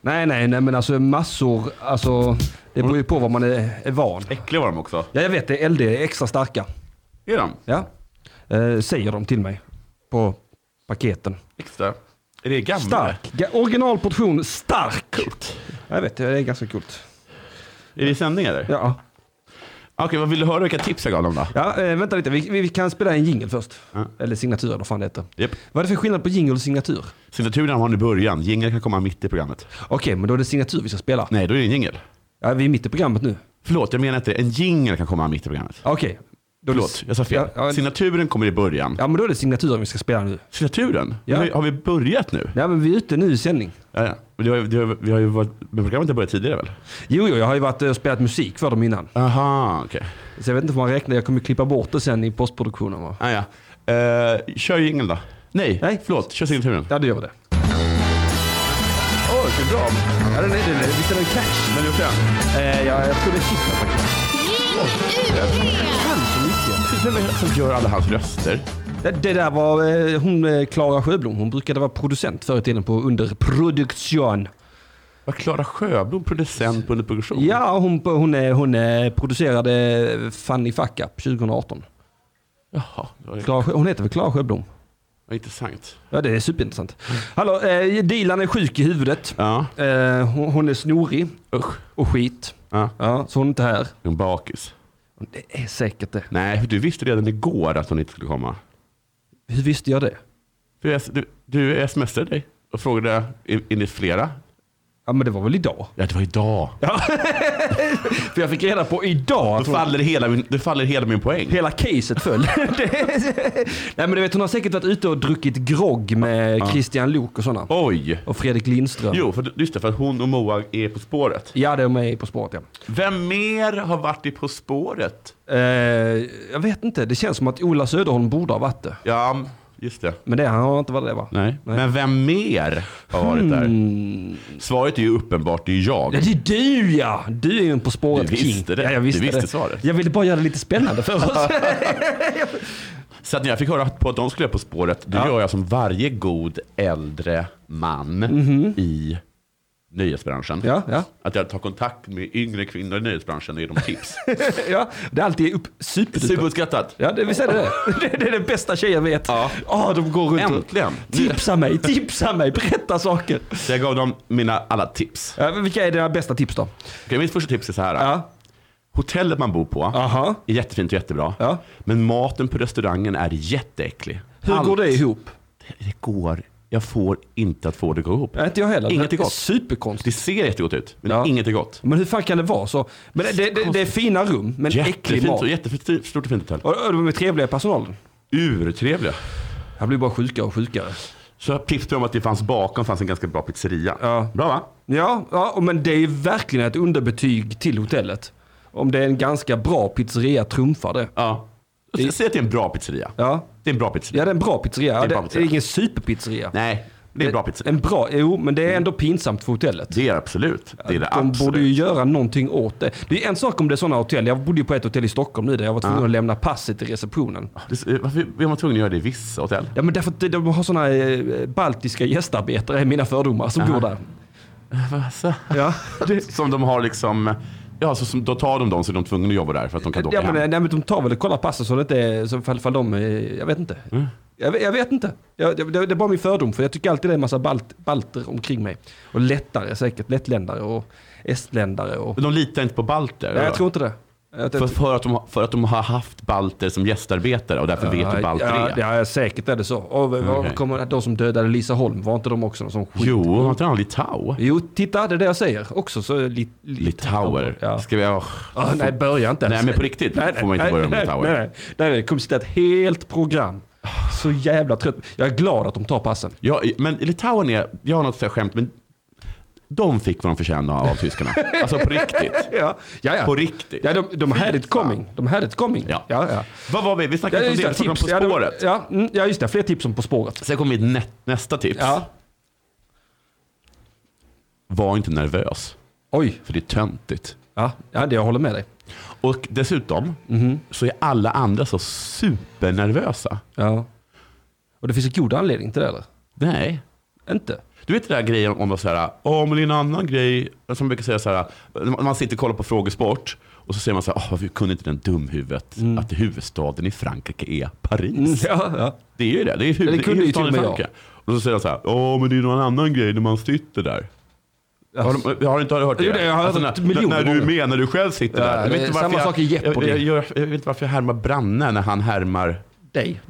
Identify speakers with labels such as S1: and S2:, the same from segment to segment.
S1: Nej, nej, nej, men alltså massor. Alltså, det beror ju på vad man är, är van.
S2: Äckliga var de också.
S1: Ja, jag vet det. LD är extra starka.
S2: Är de?
S1: Ja. Eh, säger de till mig på paketen.
S2: Extra. Är det gamla?
S1: Stark. Ga- Original portion stark. Jag vet, det är ganska kul.
S2: Är det i sändning eller?
S1: Ja.
S2: Okej, vad vill du höra? Vilka tips jag gav dem då?
S1: Ja, eh, vänta lite. Vi, vi kan spela en jingle först.
S2: Ja.
S1: Eller signatur, eller vad fan det heter.
S2: Japp.
S1: Vad är det för skillnad på jingle och signatur?
S2: Signaturen har man i början. Jingeln kan komma mitt i programmet.
S1: Okej, men då är det signatur vi ska spela.
S2: Nej, då är det en jingel.
S1: Ja, vi är mitt i programmet nu.
S2: Förlåt, jag menar inte det. En jingel kan komma mitt i programmet.
S1: Okej. Då är det-
S2: Förlåt, jag sa fel.
S1: Ja, ja,
S2: Signaturen kommer i början.
S1: ja, men då är det signaturen vi ska spela nu.
S2: Signaturen?
S1: Ja.
S2: Har, vi, har vi börjat nu?
S1: Ja, men vi är ute nu i sändning.
S2: Ja, ja. Men det har, ju- det har, vi har ju varit, men programmet har börjat tidigare väl?
S1: Jo, jo, jag har ju varit eh, och spelat musik för dem innan.
S2: Aha, okej.
S1: Så jag vet inte om man räknar. Jag kommer ju klippa bort det sen i postproduktionen va?
S2: Ah, ja. Eh, kör jingeln då. Nej,
S1: Nej.
S2: förlåt. Kör signaturen.
S1: Ja, du gör det.
S2: Åh, vilken bra.
S1: Ja, den är, den är, visst är den catch?
S2: När du gjort den?
S1: Eh, ja, jag tror det är Kitna faktiskt. Han så mycket.
S2: Vem är det som gör alla hans röster?
S1: Det, det där var eh, hon eh, Klara Sjöblom. Hon brukade vara producent förr i tiden på underproduktion.
S2: Var Klara Sjöblom producent på Underproduktion?
S1: Ja, hon, hon, är- hon eh, producerade Fanny Fuck Up 2018.
S2: Jaha, det var, det
S1: Klara, Sjö- hon heter väl Klara Sjöblom?
S2: var intressant.
S1: Ja, det är superintressant. Hallå, eh, Dilan är sjuk i huvudet.
S2: Ja,
S1: Eh, hon, hon är snorig
S2: usch.
S1: och skit.
S2: Ja.
S1: Ja, så hon är inte här.
S2: En bakis.
S1: Det är säkert det.
S2: Nej, du visste redan igår att hon inte skulle komma.
S1: Hur visste jag det?
S2: Du, du, du smsade dig och frågade, är är ni flera?
S1: Ja, men det var väl idag?
S2: Ja, det var idag.
S1: För jag fick reda på idag
S2: Då
S1: att hon,
S2: faller, hela min, då faller hela min poäng.
S1: hela caset föll. Det- Nej, men du vet, hon har säkert varit ute och druckit grogg med Christian Lok och sådana.
S2: Oj!
S1: Och Fredrik Lindström.
S2: Jo, för, just det, för att hon och Moa är På spåret.
S1: Ja, de är På spåret, ja.
S2: Vem mer har varit i På spåret?
S1: Eh, jag vet inte, det känns som att Ola Söderholm borde ha varit det.
S2: Ja, just det.
S1: Men det, han har inte varit det va?
S2: Nej. Hmm.
S1: Nej.
S2: Men vem mer har varit
S1: Mm.
S2: där? Svaret är ju uppenbart, det är jag.
S1: Ja, det är du ja! Du är ju en På spåret
S2: Du visste
S1: king.
S2: det.
S1: Ja, jag visste
S2: Du visste
S1: det.
S2: svaret.
S1: Jag ville bara göra det lite spännande för oss.
S2: Så att när jag fick höra på att de skulle På spåret, då
S1: Ja.
S2: gör jag som varje god äldre man i nöjesbranschen.
S1: Mhm. ja, ja.
S2: Att jag tar kontakt med yngre kvinnor i nöjesbranschen och ger dem tips.
S1: ja, det är alltid upp, superduper.
S2: Superuppskattat.
S1: Ja, det, visst är det det? det? Det är den bästa tjejen vet.
S2: Ja.
S1: Ah, de går runt
S2: Äntligen.
S1: och... Tipsa mig, tipsa mig, berätta saker.
S2: Så jag gav dem mina alla tips.
S1: Ja, men vilka är dina bästa tips då?
S2: Okej, mitt första tips är så här.
S1: Ja,
S2: Hotellet man bor på
S1: aha.
S2: är jättefint och jättebra.
S1: Ja.
S2: Men maten på restaurangen är jätteäcklig.
S1: Hur
S2: Allt-
S1: går det ihop?
S2: Det går. Jag får inte att få det att gå ihop.
S1: Ja, inte jag heller.
S2: Inget är
S1: det är
S2: gott.
S1: superkonstigt.
S2: Det ser jättegott ut, men
S1: Ja.
S2: inget är gott.
S1: Men hur fan kan det vara så? Men det, det, det, det är fina rum, men äcklig
S2: Jättefint
S1: mat.
S2: och jättefint, stort och fint hotell.
S1: Och, och de är trevliga i personalen.
S2: Urtrevliga.
S1: Jag blir bara sjukare och sjukare.
S2: Så jag tipsade om att det fanns bakom fanns en ganska bra pizzeria.
S1: Ja.
S2: Bra va?
S1: Ja, ja och men det är ju verkligen ett underbetyg till hotellet. Om det är en ganska bra pizzeria trumfar det.
S2: Ja.
S1: Det-
S2: Säg att det är en bra pizzeria.
S1: Ja,
S2: Det är en bra pizzeria.
S1: ja det är en bra pizzeria. Ja,
S2: Det är en
S1: Det
S2: bra
S1: det är
S2: pizzeria.
S1: ingen superpizzeria.
S2: Nej, det är en bra pizzeria. Mm.
S1: En bra, jo, men det är ändå pinsamt för hotellet.
S2: Det är det absolut. Det är
S1: De
S2: det absolut.
S1: borde ju göra någonting åt det. Det är en sak om det är sådana hotell. Jag bodde ju på ett hotell i Stockholm nu där jag var tvungen att lämna passet i receptionen.
S2: Det- Varför är man tvungen att göra det i vissa hotell?
S1: Ja, men därför att de har sådana eh, baltiska gästarbetare, är mina fördomar, som bor där. Ja, det,
S2: Som de har liksom... Ja, så som, då tar de dem så är de tvungna att jobba där för att de kan då åka
S1: ja, men,
S2: hem.
S1: nej, men de tar väl och kollar passet så det inte är, så fall, fall de, eh, jag vet inte.
S2: Mm.
S1: Jag, vet- jag vet inte. Jag, det, det är bara min fördom, för jag tycker alltid det är en massa balt, balter omkring mig. Och lättare säkert, lättländare och estländare och...
S2: Men de litar inte på balter?
S1: Nej,
S2: eller?
S1: jag tror inte det. Jag,
S2: För, för, att de, har- för att de har haft balter som gästarbetare och därför vet hur balter
S1: ja,
S2: är?
S1: ja, säkert är det så. Och,
S2: Okej.
S1: var kommer, de som dödade Lisa Holm, var inte de också någon sån skit?
S2: Jo, har inte han Litau?
S1: Jo, titta, det är det jag säger också. Så li, li,
S2: Litauer.
S1: Ja.
S2: Ska vi... åh.
S1: Ah, nej, börja inte.
S2: Nej, men på riktigt får man inte börja med Litauer.
S1: Nej, nej, nej, nej, det kommer sitta ett helt program. Så jävla trött. Jag är glad att de tar passen.
S2: Ja, men Litauen är, jag har något så här skämt, men de fick vad de förtjänade av tyskarna. Alltså på riktigt.
S1: Ja, ja. ja.
S2: På riktigt.
S1: Ja, de, de had it coming. De had it coming.
S2: Ja.
S1: ja. ja.
S2: Vad var vi? Vi snackade om
S1: just
S2: det, vi snackade om På
S1: Ja, det var-
S2: spåret.
S1: Ja, mm, ja, just det. Fler tips om På spåret.
S2: Sen kom mitt nä- nästa tips.
S1: Ja.
S2: Var inte nervös,
S1: Oj.
S2: för det är töntigt.
S1: Ja, ja det jag håller med dig.
S2: Och dessutom
S1: Mhm.
S2: så är alla andra så supernervösa.
S1: Ja. Och det finns en god anledning till det, eller?
S2: Nej.
S1: Inte?
S2: Du vet den där grejen om att såhär, åh men det är en annan grej, som man brukar säga såhär, när man sitter och kollar på frågesport och så säger man såhär, åh varför kunde inte den dumhuvudet
S1: Mm.
S2: att huvudstaden i Frankrike är Paris?
S1: Ja, ja.
S2: Det är ju det, det är huvud,
S1: Mm. Ja, det kunde ju
S2: huvudstaden i
S1: till och med
S2: Frankrike. Och så säger de såhär, åh men det är någon annan grej när man sitter där.
S1: Alltså,
S2: Har, de, har du inte hört det? Alltså,
S1: Jo, det har jag hört
S2: när,
S1: miljoner
S2: när du är
S1: gånger.
S2: med, när du själv sitter
S1: Ja,
S2: där.
S1: det är
S2: inte
S1: samma
S2: varför
S1: sak i Jeopardy.
S2: Jag, jag, jag, jag vet inte varför jag härmar Branne när han härmar
S1: dig.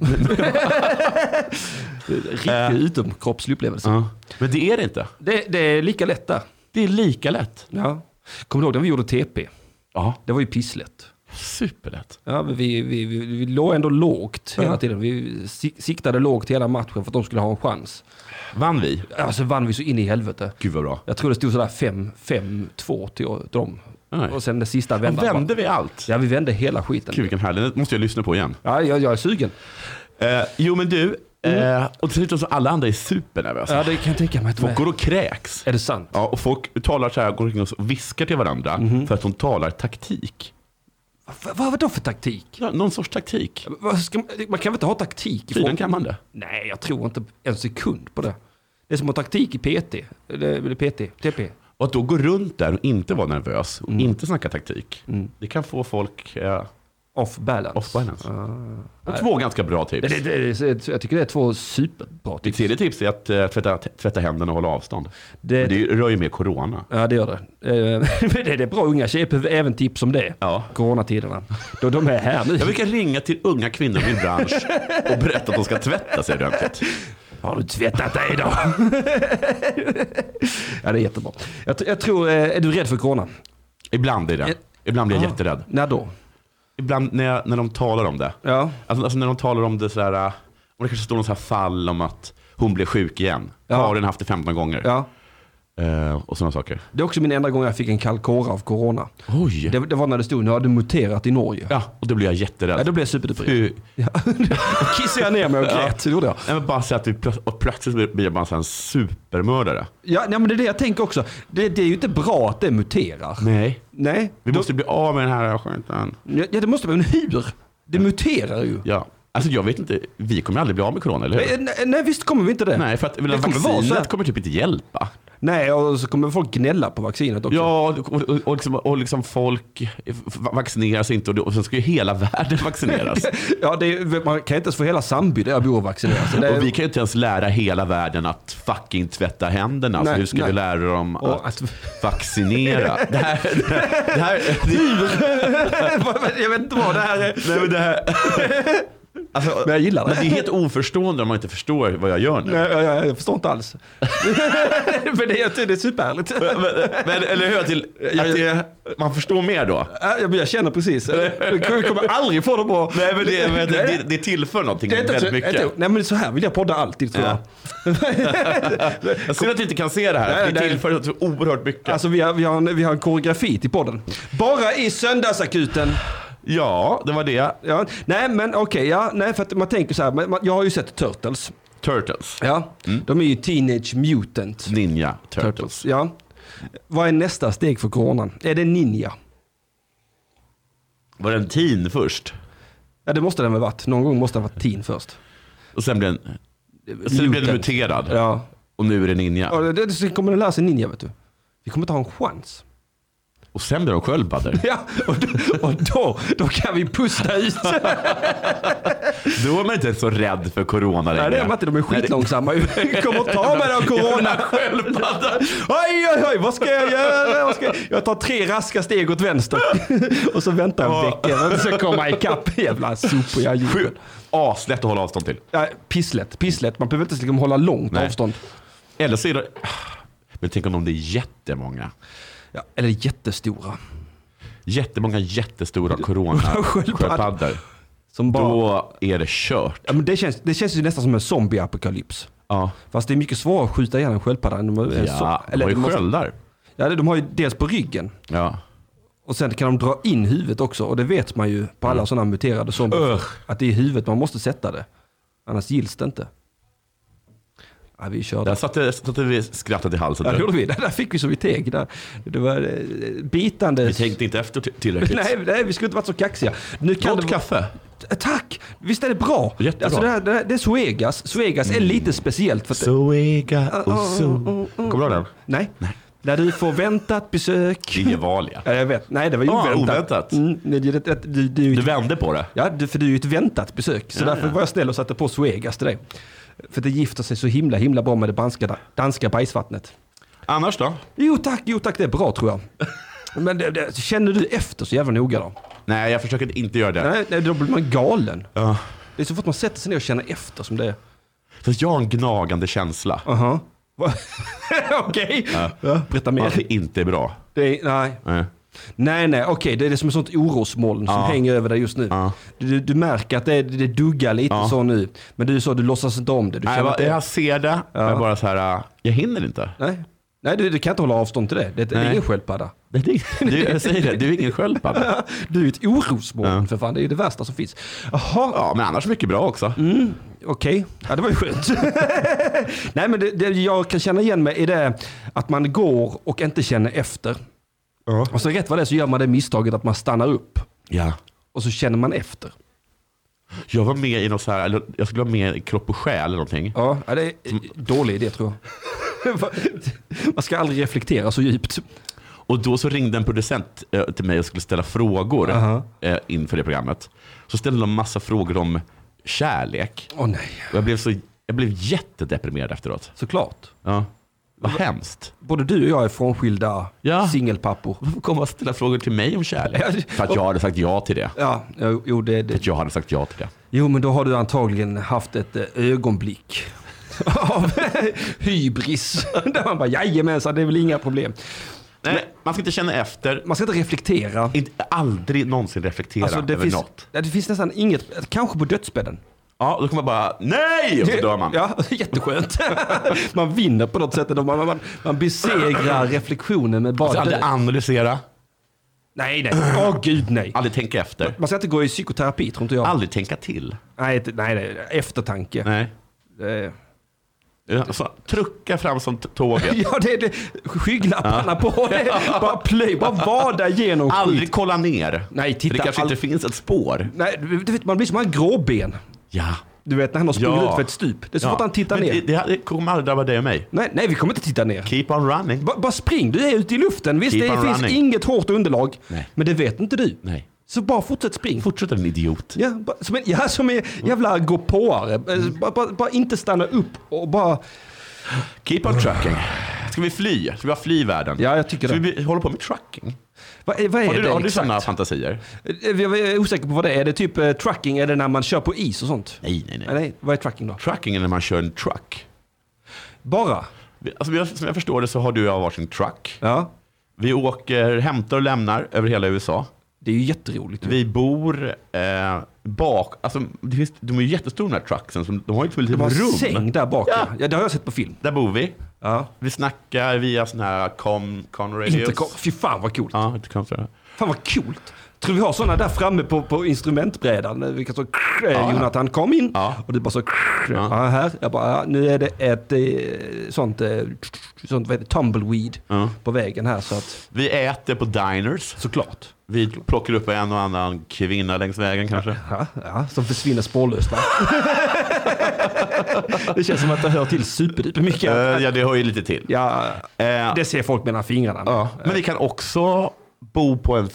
S1: Riktig utomkroppslig upplevelse.
S2: Ja. Men det är det inte.
S1: Det, det är lika lätt där.
S2: Det är lika lätt.
S1: Ja. Kommer du ihåg när vi gjorde TP?
S2: Ja,
S1: Det var ju pisslätt.
S2: superlätt.
S1: Ja, men vi, vi, vi, vi låg ändå lågt hela
S2: Ja.
S1: tiden. Vi sik- siktade lågt hela matchen för att de skulle ha en chans.
S2: Vann vi?
S1: Alltså vann vi så in i helvete.
S2: Gud vad bra.
S1: Jag tror det stod sådär 5-2 till till dem.
S2: Nej.
S1: Och sen den sista
S2: Vända,
S1: vändan.
S2: vände vi allt?
S1: Ja, vi vände hela skiten.
S2: Gud vilken härlig, det måste jag lyssna på igen.
S1: Ja, jag, jag är sugen.
S2: Eh, jo men du, eh, och dessutom så alla andra är supernervösa.
S1: Mm. Ja, det kan jag tänka mig att
S2: Folk går och kräks.
S1: Är det sant?
S2: Ja, och folk talar så här, går omkring och viskar till varandra
S1: Mhm.
S2: för att de talar taktik.
S1: Vad vad var det för taktik?
S2: Ja, någon sorts taktik.
S1: Vad ska man, man kan väl inte ha taktik? i
S2: Tydligen
S1: folk?
S2: kan man det.
S1: Nej, jag tror inte en sekund på det. Det är som att ha taktik i PT. Eller, eller PT, TP.
S2: Och att då gå runt där och inte vara nervös
S1: Mm.
S2: och inte snacka taktik. Det kan få folk eh,
S1: Off balance.
S2: off balance. Och två ganska bra tips.
S1: Det, det, det, det, jag tycker det är två superbra
S2: Mitt
S1: tips.
S2: tredje tips är att eh, tvätta, tvätta händerna och hålla avstånd.
S1: Det-
S2: Det, det rör ju med corona.
S1: Ja, det gör det. Eh, Men det är det bra. Unga tjejer behöver även tips om det.
S2: Ja.
S1: Coronatiderna. Då de är här nu.
S2: Jag brukar ringa till unga kvinnor i min bransch och berätta att de ska tvätta sig ordentligt.
S1: Har du tvättat dig idag? ja, det är jättebra. Jag, tr- jag tror... eh, Är du rädd för corona?
S2: Ibland är det. Ibland blir jag
S1: Ah.
S2: jätterädd.
S1: När då?
S2: Ibland när, jag, när de talar om det.
S1: Ja.
S2: Alltså, alltså när de talar om det sådär, äh, om det kanske står någon så här fall om att hon blev sjuk igen.
S1: Ja.
S2: Karin har haft det 15 gånger.
S1: ja.
S2: Eh, och sådana saker.
S1: Det är också min enda gång jag fick en kall kåra av corona.
S2: Oj!
S1: Det, det var när det stod nu har det muterat i Norge.
S2: Ja, och då blir jag jätterädd.
S1: Ja, då blev jag superdeprimmerad.
S2: Hur-
S1: Då kissade jag ner mig och grät. Det gjorde jag.
S2: Nej, men bara så att vi plö- och plötsligt blir- blir jag bara en sån här supermördare.
S1: Ja, nej, men det är det jag tänker också. Det, det är ju inte bra att det muterar.
S2: Nej.
S1: Nej.
S2: Vi
S1: Då-
S2: måste bli av med den här skiten.
S1: Ja, det måste man. Men hur? Det muterar ju.
S2: Ja. Alltså jag vet inte, vi kommer aldrig bli av med corona, eller hur?
S1: Eh, Nej, nej, visst kommer vi inte det.
S2: Nej, för att det
S1: kommer
S2: kommer
S1: vara så här.
S2: vaccinet kommer typ inte hjälpa.
S1: Nej, och så kommer folk gnälla på vaccinet också.
S2: Ja, och, och, och, liksom, och liksom folk va- vaccineras inte och, då, och sen ska ju hela världen vaccineras.
S1: Ja, det är, man kan inte ens få hela Sandby där jag bor vaccinerad. Så det är-
S2: Och vi kan ju inte ens lära hela världen att fucking tvätta händerna.
S1: Nej,
S2: så hur ska
S1: nej.
S2: vi lära dem
S1: Och
S2: att
S1: att- Typ.
S2: vaccinera? Det här, det här, det här,
S1: jag vet inte vad det här är.
S2: nej, men det här alltså,
S1: Men jag gillar
S2: men det är
S1: det.
S2: helt oförstående om man inte förstår vad jag gör nu.
S1: Nej, jag, jag, jag förstår inte alls. Men det, är- det är superhärligt.
S2: Men, men, eller hur? Till, att det, man förstår mer då.
S1: Ja, Jag, jag känner precis. Du kommer aldrig få det bra.
S2: Nej, men det, men det,
S1: Nej.
S2: det, det tillför någonting
S1: Det är inte,
S2: väldigt
S1: så-
S2: mycket.
S1: inte, nej men så här vill jag podda alltid tror jag.
S2: Jag synd att du inte kan se det här.
S1: Nej,
S2: det
S1: nej.
S2: tillför så oerhört mycket.
S1: Alltså vi har, vi, har en, vi har en koreografi till podden. Bara i söndagsakuten.
S2: ja, det var det.
S1: Ja, nej men okej, ja, nej för att man tänker så här. Man, man, jag har ju sett Turtles.
S2: Turtles.
S1: Ja, de är ju Teenage Mutant
S2: Ninja Mm. Turtles.
S1: Turtles. Ja. Vad är nästa steg för coronan? Är det ninja?
S2: Var det en teen först?
S1: Ja det måste den väl varit. Någon gång måste den ha varit teen först.
S2: Och sen blev den, sen blev den muterad.
S1: Ja.
S2: Och nu är den ninja.
S1: ja det, det, sen kommer den lära sig ninja vet du. Vi kommer inte ha en chans.
S2: Och sen blev de sköldpaddor.
S1: Ja, och, då, och då, då kan vi pusta ut.
S2: Då är man inte så rädd för corona längre.
S1: Nej, det är de inte. De är skitlångsamma. ju. Kommer att ta mig av corona.
S2: Sköldpadda.
S1: Oj, oj, oj, vad ska jag göra? Vad ska jag... jag tar tre raska steg åt vänster. Och så väntar jag en vecka. Och så kommer jag ikapp. Jävla sopor jag gjorde.
S2: Sju- Aslätt att hålla avstånd till.
S1: Ja, pisslätt, pisslätt. Man behöver inte liksom hålla långt
S2: Nej.
S1: avstånd.
S2: Eller så är det... Men tänk om de är jättemånga.
S1: Ja, eller jättestora.
S2: Jättemånga jättestora corona-sköldpaddor.
S1: Som bara...
S2: Då är det kört.
S1: Ja, men det, känns, det känns ju nästan som en zombie-apokalyps.
S2: Ja,
S1: Fast det är mycket svårare att skjuta ihjäl en sköldpadda än en
S2: ja.
S1: så-
S2: de har ju
S1: de måste-
S2: sköldar.
S1: Ja, de har ju dels på ryggen.
S2: Ja.
S1: Och sen kan de dra in huvudet också. Och det vet man ju på alla
S2: Mm.
S1: sådana muterade zombier.
S2: Ugh.
S1: Att det är i huvudet man måste sätta det. Annars gills det inte. Ja, vi
S2: Där
S1: körde.
S2: satte, satte vi skrattet i halsen.
S1: Där
S2: du.
S1: gjorde vi. Där, där fick vi så vi teg. Där, det var eh, bitande...
S2: Vi tänkte inte efter till- tillräckligt.
S1: Nej, nej, vi skulle inte varit så kaxiga. Nu kan
S2: Gott
S1: det vara- Eh,
S2: kaffe.
S1: Tack! Visst är det bra?
S2: Jättebra. Mm.
S1: Alltså det, här, det, här, det är Suegas. Suegas är lite speciellt. För att,
S2: Zoega och zo. Kommer du ihåg den?
S1: nej. När du får väntat besök.
S2: Liljevalia.
S1: Ja, jag vet. Nej, det var ju
S2: Ah,
S1: oväntat.
S2: oväntat.
S1: Mm, det, det, det, det, det är ju
S2: Du
S1: ett,
S2: vände på det.
S1: ja, det, för det är ju ett väntat besök. Så
S2: Ja,
S1: därför
S2: ja.
S1: var jag snäll och satte på Suegas till dig. För det gifter sig så himla, himla bra med det danska, danska bajsvattnet.
S2: Annars då?
S1: Jo tack, jo tack, det är bra tror jag. Men det, det, känner du efter så jävla noga då?
S2: Nej, jag försöker inte göra det.
S1: Nej, nej, då blir man galen.
S2: Ja.
S1: Det är så fort man sätter sig ner och känner efter som det är.
S2: För jag har en gnagande känsla.
S1: Aha. Va? okej. Ja. Berätta mer.
S2: Att det inte är bra.
S1: Det är, nej,
S2: Nej.
S1: nej, nej okej. Det är det som ett sånt orosmoln som
S2: Ja.
S1: hänger över dig just nu.
S2: Ja.
S1: Du, du märker att det, det duggar lite
S2: Ja.
S1: så nu. Men du är så, du låtsas inte om det. Du
S2: Nej, jag,
S1: känner
S2: bara,
S1: inte,
S2: jag ser det, men jag bara så här, äh, jag hinner inte.
S1: nej. nej, du, du kan inte hålla avstånd till det. Det, det är
S2: Nej.
S1: ingen sköldpadda.
S2: Det, det, du, jag säger det, du är ingen sköldpadda.
S1: Du är ett orosmoln
S2: Ja.
S1: för fan. Det är ju det värsta som finns. Jaha,
S2: Ja, men annars mycket bra också.
S1: Okej, ja, det var ju skönt. Nej, men det, det jag kan känna igen mig i det att man går och inte känner efter.
S2: Ja.
S1: Och så rätt vad det är så gör man det misstaget att man stannar upp
S2: ja.
S1: och så känner man efter.
S2: Jag var med i något så här, eller jag skulle vara med i Kropp och själ eller någonting.
S1: Ja, ja, det är
S2: Mm.
S1: eh, dålig idé tror jag. man ska aldrig reflektera så djupt.
S2: Och då så ringde en producent eh, till mig och skulle ställa frågor
S1: Aha.
S2: eh, inför det programmet. Så ställde de massa frågor om kärlek.
S1: Åh nej,
S2: Och jag blev, så, jag blev jättedeprimerad efteråt.
S1: såklart.
S2: Ja. Vad hemskt.
S1: Både du och jag är frånskilda
S2: Ja.
S1: singelpappor.
S2: Varför kommer man ställa frågor till mig om kärlek?
S1: Ja.
S2: För att jag hade sagt ja till det.
S1: Ja, jo, jo, det,
S2: För
S1: det,
S2: att jag hade sagt ja till det.
S1: Jo, men då har du antagligen haft ett eh, ögonblick av hybris. Där man bara, jajamensan, det är väl inga problem.
S2: Nej, man ska inte känna efter.
S1: Man ska inte reflektera.
S2: Inte, aldrig någonsin reflektera
S1: Alltså, det,
S2: över
S1: finns,
S2: något.
S1: Ja, det finns nästan inget, kanske på dödsbädden.
S2: Ja, då kommer man bara nej! Och så dör man.
S1: Ja, jätteskönt. man vinner på något sätt. ändå. Man, man, man besegrar reflektionen med bara
S2: Alltså, aldrig
S1: död.
S2: analysera,
S1: Nej, nej. Åh gud, nej.
S2: aldrig tänka efter,
S1: Man ska inte gå i psykoterapi, tror inte jag.
S2: aldrig tänka till.
S1: Nej, inte- nej, nej, eftertanke.
S2: Nej.
S1: Eh,
S2: Ja, Så, trucka fram som t- tåget.
S1: Ja, det är det. Skygglapparna på. Det. är Bara plöj, bara vada genom skit.
S2: Aldrig kolla ner.
S1: Nej, titta,
S2: För det kanske
S1: all-
S2: inte finns ett spår.
S1: Nej, du du vet, man blir som han gråben.
S2: Ja.
S1: Du vet när han har sprungit
S2: Ja.
S1: ut för ett stup. Det är så
S2: ja.
S1: fort han tittar
S2: Men
S1: ner.
S2: Det, det, det kommer aldrig drabba dig och mig.
S1: Nej, nej, vi kommer inte titta ner.
S2: Keep on running.
S1: Ba- bara spring, du är ute i luften. Visst,
S2: Keep
S1: det
S2: on
S1: finns
S2: running.
S1: inget hårt underlag.
S2: Nej.
S1: Men det vet inte du.
S2: Nej.
S1: Så bara fortsätt spring.
S2: Fortsätt en idiot.
S1: Ja, bara, som en, ja, som en jävla gåpåare. Mm. Bara, bara, bara inte stanna upp och bara...
S2: Keep on trucking. Ska vi fly? Ska vi ha fly i världen?
S1: Ja, jag tycker
S2: Ska
S1: det.
S2: vi hålla på med trucking?
S1: Vad, är- vad är
S2: Har du,
S1: det
S2: har du
S1: exakt?
S2: sådana fantasier?
S1: Eh, Jag är osäker på vad det är. Är det typ eh, trucking? Är det när man kör på is och sånt?
S2: Nej, nej, nej.
S1: Nej, nej. Vad är trucking då?
S2: Trucking är när man kör en truck.
S1: Bara?
S2: Vi- Alltså, jag- som jag förstår det så har du och jag varsin truck.
S1: Ja.
S2: Vi åker, hämtar och lämnar över hela USA.
S1: Det är ju jätteroligt.
S2: Vi bor eh, bak, alltså det finns, de är ju jättestora de här trucksen, som, de har ju liksom ett
S1: Det var
S2: litet
S1: en
S2: rum.
S1: säng där bak. Ja.
S2: Ja.
S1: Ja, det har jag sett på film.
S2: Där bor vi.
S1: Ja.
S2: Vi snackar via sån här con, con radios.
S1: Intercom. Fy fan vad coolt.
S2: Ja, intercom tror jag.
S1: Fan vad coolt. Tror vi har sådana där framme på, på instrumentbrädan. Eh, Vi kan så krr,
S2: ja.
S1: Jonathan kom in
S2: Ja.
S1: och du bara så krr,
S2: Ja.
S1: ja. här. Jag bara, ja, nu är det ett eh, sånt, eh, sånt vad heter, det, tumbleweed
S2: Ja.
S1: på vägen här så att
S2: Vi äter på diners.
S1: såklart.
S2: Vi plockar upp en och annan kvinna längs vägen kanske.
S1: Ja, ja, som försvinner spårlöst va? det känns som att det hör till superduper mycket.
S2: Eh, ja, det hör ju lite till.
S1: Ja,
S2: Eh,
S1: det ser folk mellan fingrarna.
S2: Ja. Men vi kan också bo på en...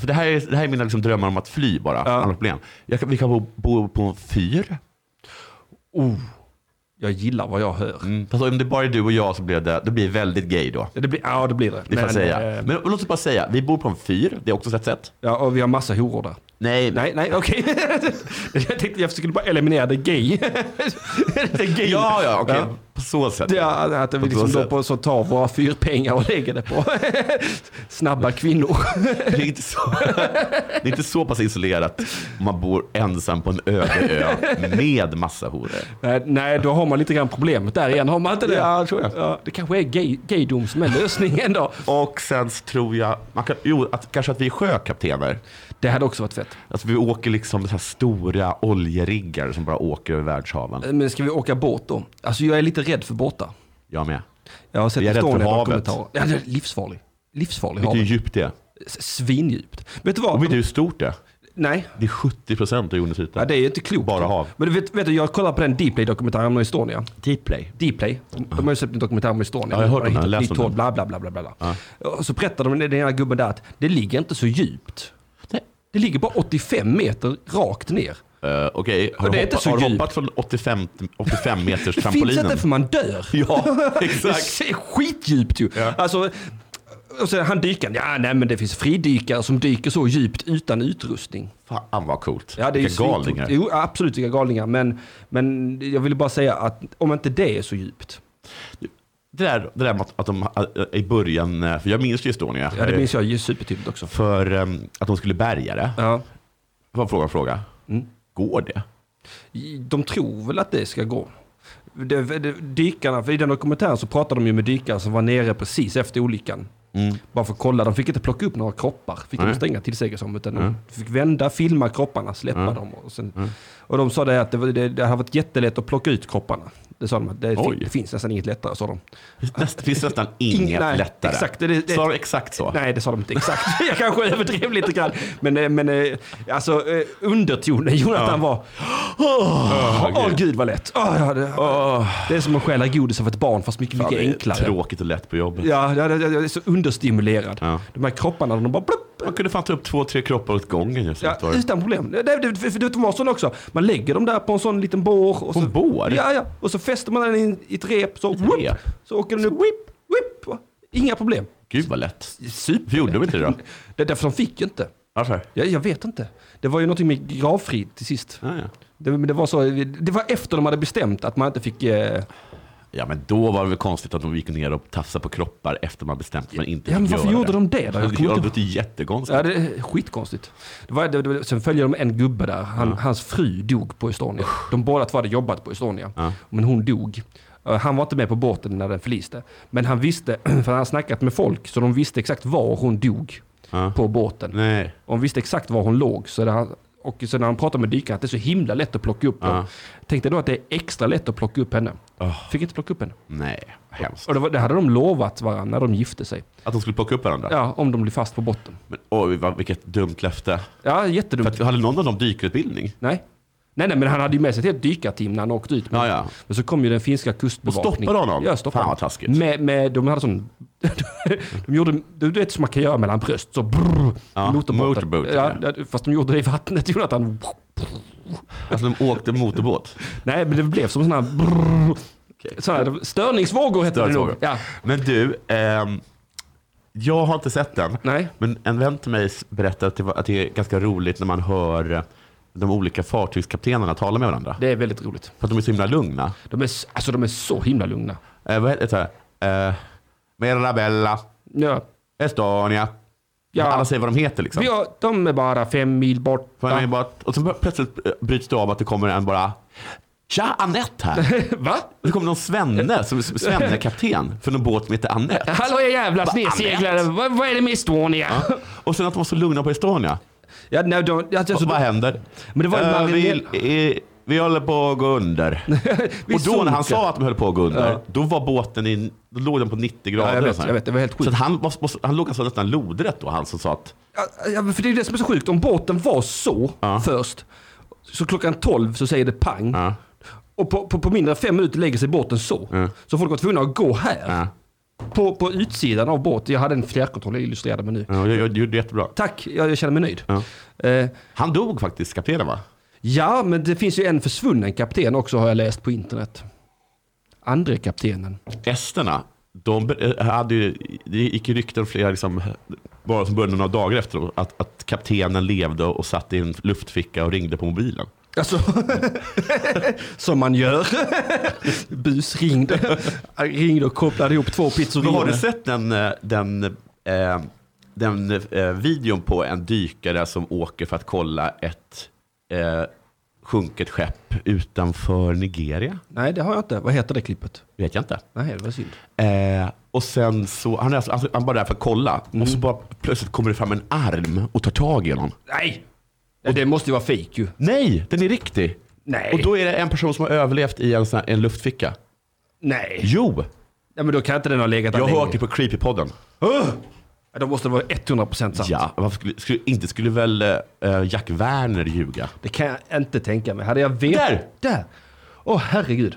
S2: För det här är, det här är mina liksom drömmar om att fly bara. Andra problem. Jag kan, vi kan bo, bo på en fyr.
S1: Oh, jag gillar vad jag hör.
S2: Mm. Fast om det bara är du och jag så blir det, det blir väldigt gay då.
S1: Ja, Det blir, ja, det blir det.
S2: Det får jag säga.
S1: eh,
S2: Men låt oss bara säga, vi bor på en fyr. Det är också ett sätt.
S1: Ja, och vi har massa horor där.
S2: Nej,
S1: Nej, nej, okej. jag tänkte jag skulle bara eliminera det gay. det gay.
S2: Ja, ja, okej.
S1: Ja.
S2: På så sätt.
S1: Det är att vi liksom då på, så tar våra fyrpengar och lägger det på snabba kvinnor.
S2: Det är inte så, det är inte så pass isolerat om man bor ensam på en öde ö med massa horor.
S1: Nej, nej, då har man lite grann problemet där igen. Har man inte det?
S2: Ja, tror jag.
S1: Ja, det kanske är gay, gaydom som är lösningen då.
S2: Och sen så tror jag, man kan, jo, att, kanske att vi är sjökaptener.
S1: Det hade också varit fett.
S2: Alltså vi åker liksom så här stora oljeriggar som bara åker över världshaven.
S1: Men ska vi åka båt då? Alltså jag är lite rädd för båtar.
S2: Jag med.
S1: Jag har sett
S2: Jag är rädd för
S1: Estonia i några
S2: havet.
S1: kommentarer. Ja, det är livsfarlig. Livsfarlig
S2: Vet du hur
S1: havet.
S2: djupt det är?
S1: Svindjupt. Vet du
S2: Och
S1: vad?
S2: vet du hur stort det är?
S1: Nej,
S2: Det är 70 procent av jordens yta.
S1: ja, det är ju inte klokt.
S2: Bara hav.
S1: Men du vet, vet du, jag kollade på den Dplay-dokumentären om Estonia.
S2: Deep play.
S1: Dplay, de har ju släppt en dokumentär om Estonia.
S2: Ja, jag har hört
S1: De
S2: om
S1: hittat
S2: den, jag
S1: nytt
S2: läste om
S1: hål, Bla, bla, bla, bla, bla. Och så berättade de, den ena gubben där, att det ligger inte så djupt.
S2: Nej.
S1: Det ligger bara 85 meter rakt ner.
S2: Eh, Okej, har,
S1: det
S2: du
S1: är inte
S2: hoppa,
S1: så
S2: har du
S1: djupt.
S2: hoppat från 85, 85 meters
S1: Det finns
S2: trampolinen?
S1: inte för man dör.
S2: Ja,
S1: Det
S2: exakt.
S1: är skitdjupt ju.
S2: Ja.
S1: Alltså, och sen han dykaren, ja nej men det finns fridykare som dyker så djupt utan utrustning.
S2: Fan vad coolt.
S1: Ja, det är ju
S2: Vilka
S1: svincoolt.
S2: galningar.
S1: Jo, absolut vilka galningar. Men, men jag ville bara säga att om inte det är så djupt.
S2: Det där, det där med att, att de eh, i början, eh, för jag minns ju Estonia.
S1: Ja, det minns jag ju supertydligt också.
S2: För ehm, att de skulle bärga det.
S1: Ja.
S2: Vad frågan fråga?
S1: Mm.
S2: Går det?
S1: De tror väl att det ska gå. Det, det, dykarna, för i den dokumentären så pratade de ju med dykare som var nere precis efter olyckan. Bara för att kolla, de fick inte plocka upp några kroppar. Fick de
S2: Mm. Nej. Mm.
S1: stänga till sig som, utan de fick vända, filma kropparna, släppa dem. Och, sen, och de sa det att det, var- det, det hade varit jättelätt att plocka ut kropparna. Det sa de, att det, fin,
S2: Oj.
S1: det finns nästan inget lättare, sa de.
S2: Finns näst- finns nästan inget
S1: nej,
S2: lättare.
S1: exakt, det- det-
S2: Sa de exakt så?
S1: Nej, det sa de inte exakt. Jag kanske överdrev lite grann. Men, eh, men eh, alltså eh, undertonen, Jonathan var... Åh,
S2: Åh, gud.
S1: gud vad lätt. Åh, ja, det, det är som att stjäla godis av ett barn fast mycket,
S2: Fan,
S1: mycket
S2: det är
S1: enklare.
S2: Tråkigt och lätt på jobbet.
S1: Ja, jag, jag, jag är så understimulerad.
S2: Ja.
S1: De här kropparna, de bara plupp.
S2: Man kunde fan ta upp två, tre kroppar åt gången. Jag
S1: Ja,
S2: ja,
S1: utan problem. Det, det, det, för det var sån också. Man lägger dem där på en sån liten bår. Och
S2: På
S1: så,
S2: en bår?
S1: Ja, ja. Och så fäster man den i, i ett rep. Så,
S2: ett
S1: whoop,
S2: rep?
S1: så åker den upp. Whip, whip. Inga problem.
S2: Gud vad lätt.
S1: Super.
S2: Varför gjorde de inte det då?
S1: Det är därför de fick ju inte.
S2: Varför?
S1: Jag, jag vet inte. Det var ju någonting med gravfrid till sist.
S2: Ja, ja.
S1: Det, men det, var så, det var efter de hade bestämt att man inte fick... Eh,
S2: ja men då var det väl konstigt att de gick ner och tafsade på kroppar efter man bestämt att man inte
S1: Ja, men
S2: fick
S1: varför
S2: göra
S1: gjorde de det då? Jag
S2: Ja,
S1: kommer
S2: Det Alltså,
S1: inte-
S2: låter jättekonstigt.
S1: Ja, det är skitkonstigt. Det var, det, det, sen följer de en gubbe där. Han, Hans fru dog på Estonia. De båda två hade jobbat på Estonia.
S2: Ja.
S1: Men hon dog. Eh, Han var inte med på båten när den förliste. Men han visste, för han hade snackat med folk, så de visste exakt var hon dog
S2: Ja.
S1: på båten.
S2: Nej.
S1: Och hon visste exakt var hon låg. Så det, han- och så när han pratade med dykaren att det är så himla lätt att plocka upp
S2: Ja.
S1: dem. Tänkte då att det är extra lätt att plocka upp henne.
S2: Ah.
S1: Fick inte plocka upp henne.
S2: Nej, hemskt.
S1: Och det, var, det hade de lovat varandra när de gifte sig.
S2: Att de skulle plocka upp varandra?
S1: Ja, om de blev fast på botten.
S2: Men, oj, vad, vilket dumt löfte.
S1: Ja, jättedumt.
S2: För att, hade någon av dem dykarutbildning?
S1: Nej. Nej, nej, men han hade ju med sig ett helt dykarteam när han åkte ut.
S2: Ja, ja.
S1: Men så kom ju den finska kustbevakningen.
S2: Och stoppade honom?
S1: Ja, stoppade
S2: Fan, vad
S1: honom.
S2: taskigt.
S1: Med, med, de hade sån... de gjorde, du vet som man kan göra mellan bröst, så brrr,
S2: Ja,
S1: motorbåten.
S2: motorbåten,
S1: Ja, ja, fast de gjorde det i vattnet, Jonathan.
S2: Alltså de åkte motorbåt?
S1: Nej, men det blev som sådana här... Brrr, sådana här störningsvågor hette det nog.
S2: Störningsvågor.
S1: Ja,
S2: Men du, ehm, jag har inte sett den.
S1: nej.
S2: Men en vän till mig berättade att det, var, att det är ganska roligt när man hör eh, de olika fartygskaptenerna tala med varandra.
S1: Det är väldigt roligt.
S2: För att de är så himla lugna.
S1: De är, s- alltså, de är så himla lugna.
S2: Eh, vad heter det? så här? Eh, Mirabella,
S1: Ja,
S2: Estonia.
S1: Ja.
S2: Alla säger vad de heter liksom.
S1: vi har, de är bara fem mil bort.
S2: Får jag bara, och så plötsligt eh, bryts det av att det kommer en bara Tja, Anette här!
S1: Va?
S2: Det kommer någon svenne, som som- svennekapten för någon båt som heter Anette.
S1: Hallå jag jävla
S2: Vad
S1: sneseglare, vad, vad är det med Estonia?
S2: Ja. Och sen att de var så lugna på Estonia.
S1: Ja, nej, de, alltså,
S2: Så
S1: de-
S2: vad händer?
S1: Men det var en
S2: Eh,
S1: marinell.
S2: vi, eh, vi håller på att gå under.
S1: vi
S2: och då när han
S1: sunkar.
S2: sa att de höll på att gå under,
S1: Ja.
S2: då var båten i, då låg den på 90 grader.
S1: Ja, jag vet,
S2: och så här.
S1: jag vet, det var helt sjukt.
S2: Så att han, var, han låg alltså nästan lodrätt då, han som sa att
S1: Ja, Ja, men för det är det som är så sjukt. Om båten var så
S2: Ja.
S1: först, så klockan 12 så säger det pang.
S2: ja,
S1: Och på, på, på mindre än fem minuter lägger sig båten så.
S2: Ja.
S1: Så folk var tvungna att gå här.
S2: ja.
S1: På, på utsidan av båten. Jag hade en fjärrkontroll, jag illustrerade mig nu.
S2: Ja, jag, jag gjorde jättebra.
S1: Tack, jag, jag känner mig nöjd.
S2: Ja.
S1: Eh,
S2: Han dog faktiskt, kaptenen va?
S1: ja, men det finns ju en försvunnen kapten också har jag läst på internet. Andre kaptenen.
S2: Esterna, de be- eh, hade ju, det gick ju rykten flera, liksom, bara som började några dagar efter, dem, att, att kaptenen levde och satt i en luftficka och ringde på mobilen.
S1: Alltså, som man gör. Bus ringde. Han ringde och kopplade ihop två pizzerior.
S2: Men har du sett den, eh, den, eh, den eh, videon på en dykare som åker för att kolla ett eh, sjunket skepp utanför Nigeria?
S1: Nej, det har jag inte. Vad heter det klippet?
S2: Vet jag inte.
S1: Nej, det var synd.
S2: Eh, och sen så, han är alltså, han är bara där för att kolla. Och
S1: Mm.
S2: så bara plötsligt kommer det fram en arm och tar tag i honom.
S1: Nej! Och det måste ju vara fejk ju.
S2: Nej, den är riktig.
S1: Nej.
S2: Och då är det en person som har överlevt i en, sån här, en luftficka.
S1: Nej.
S2: Jo!
S1: Ja, men då kan inte den ha legat där
S2: Jag har typ- hört det
S1: länge.
S2: på Creepypodden.
S1: Ugh! Ja, då måste det vara 100% sant.
S2: Ja, varför skulle, skulle, inte skulle väl eh, Jack Werner ljuga?
S1: Det kan jag inte tänka mig. Hade jag vetat...
S2: Där!
S1: Där! Åh herregud.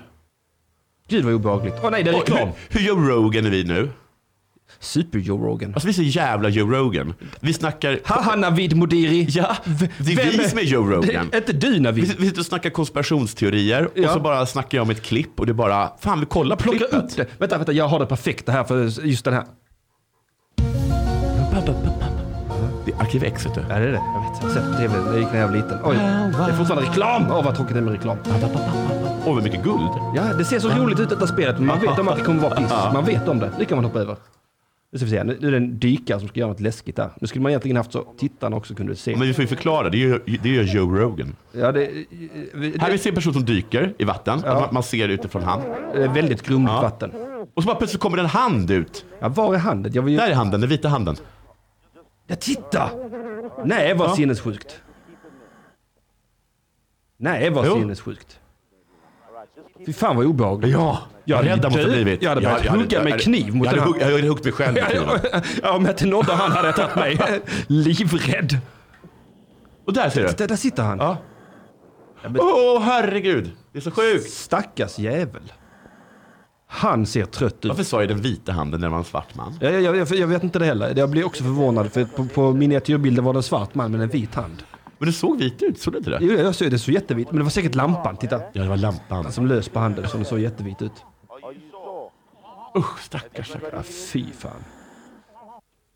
S1: Gud vad obehagligt. Åh nej, det är
S2: Och hur,
S1: reklam.
S2: hur Joe Rogan är vi nu?
S1: Super-Joe Rogan.
S2: Alltså vi är så jävla Joe Rogan. Vi snackar...
S1: Haha Navid Modiri.
S2: Ja, det är
S1: Vem
S2: vi som är Joe Rogan.
S1: Det, inte du Navid.
S2: Vi, vi sitter och snackar konspirationsteorier
S1: Ja.
S2: och så bara snackar jag om ett klipp och det är bara, fan vi kollar på
S1: Plocka
S2: klippet.
S1: upp det. Vänta, vänta, jag har det perfekta här för just den här.
S2: Det är Arkiv X vet du.
S1: Ja, det är det. Jag vet. Jag har sett på tv när jag gick när jag var liten. Oj, det är fortfarande reklam. Åh, vad tråkigt det är med reklam.
S2: Åh vad mycket guld.
S1: Ja, det ser så roligt ut detta spelet, men man vet om att det kommer vara piss. Man vet om det. Det kan man hoppa över. Nu ska vi se, här. nu nu är det en dykare som ska göra något läskigt där. Nu skulle man egentligen haft så tittarna också kunde se.
S2: Men vi får ju förklara, det gör, det gör Joe Rogan.
S1: Ja, det,
S2: Här vi
S1: det,
S2: ser en person som dyker i vatten,
S1: Ja.
S2: man, man ser utifrån han.
S1: det är väldigt grumligt
S2: Ja.
S1: vatten.
S2: Och så bara plötsligt kommer en hand ut.
S1: Ja, var är handen? Jag vill ju...
S2: Där är handen, den vita handen.
S1: Ja, titta! Nej, vad
S2: Ja.
S1: sinnessjukt. Nej, vad
S2: Jo.
S1: sinnessjukt. Fy fan vad obehagligt.
S2: Ja, jag är
S1: hade
S2: rädd det måste ha
S1: dö-
S2: blivit.
S1: jag hade börjat hugga med
S2: jag-
S1: kniv mot
S2: jag hade,
S1: den
S2: hugg- jag hade huggit mig själv med kniven.
S1: ja, om jag inte nådde han hade jag tagit mig. Livrädd.
S2: Och där ser du.
S1: Där, där sitter han.
S2: Ja.
S1: men-
S2: Åh herregud, det är så sjukt.
S1: Stackars jävel. Han ser trött ut.
S2: Varför sa jag den vita handen när det var en svart man?
S1: Jag, jag, jag, jag vet inte det heller. Jag blir också förvånad för på, på miniatyrbilden var det en svart man med en vit hand.
S2: Men det såg vit ut, såg du inte det?
S1: Jo, jag såg det såg jättevitt men det var säkert lampan, titta.
S2: Ja, det var lampan.
S1: Som lös på handen så det såg jättevitt ut.
S2: Usch, stackars stackars.
S1: Ja, fy fan.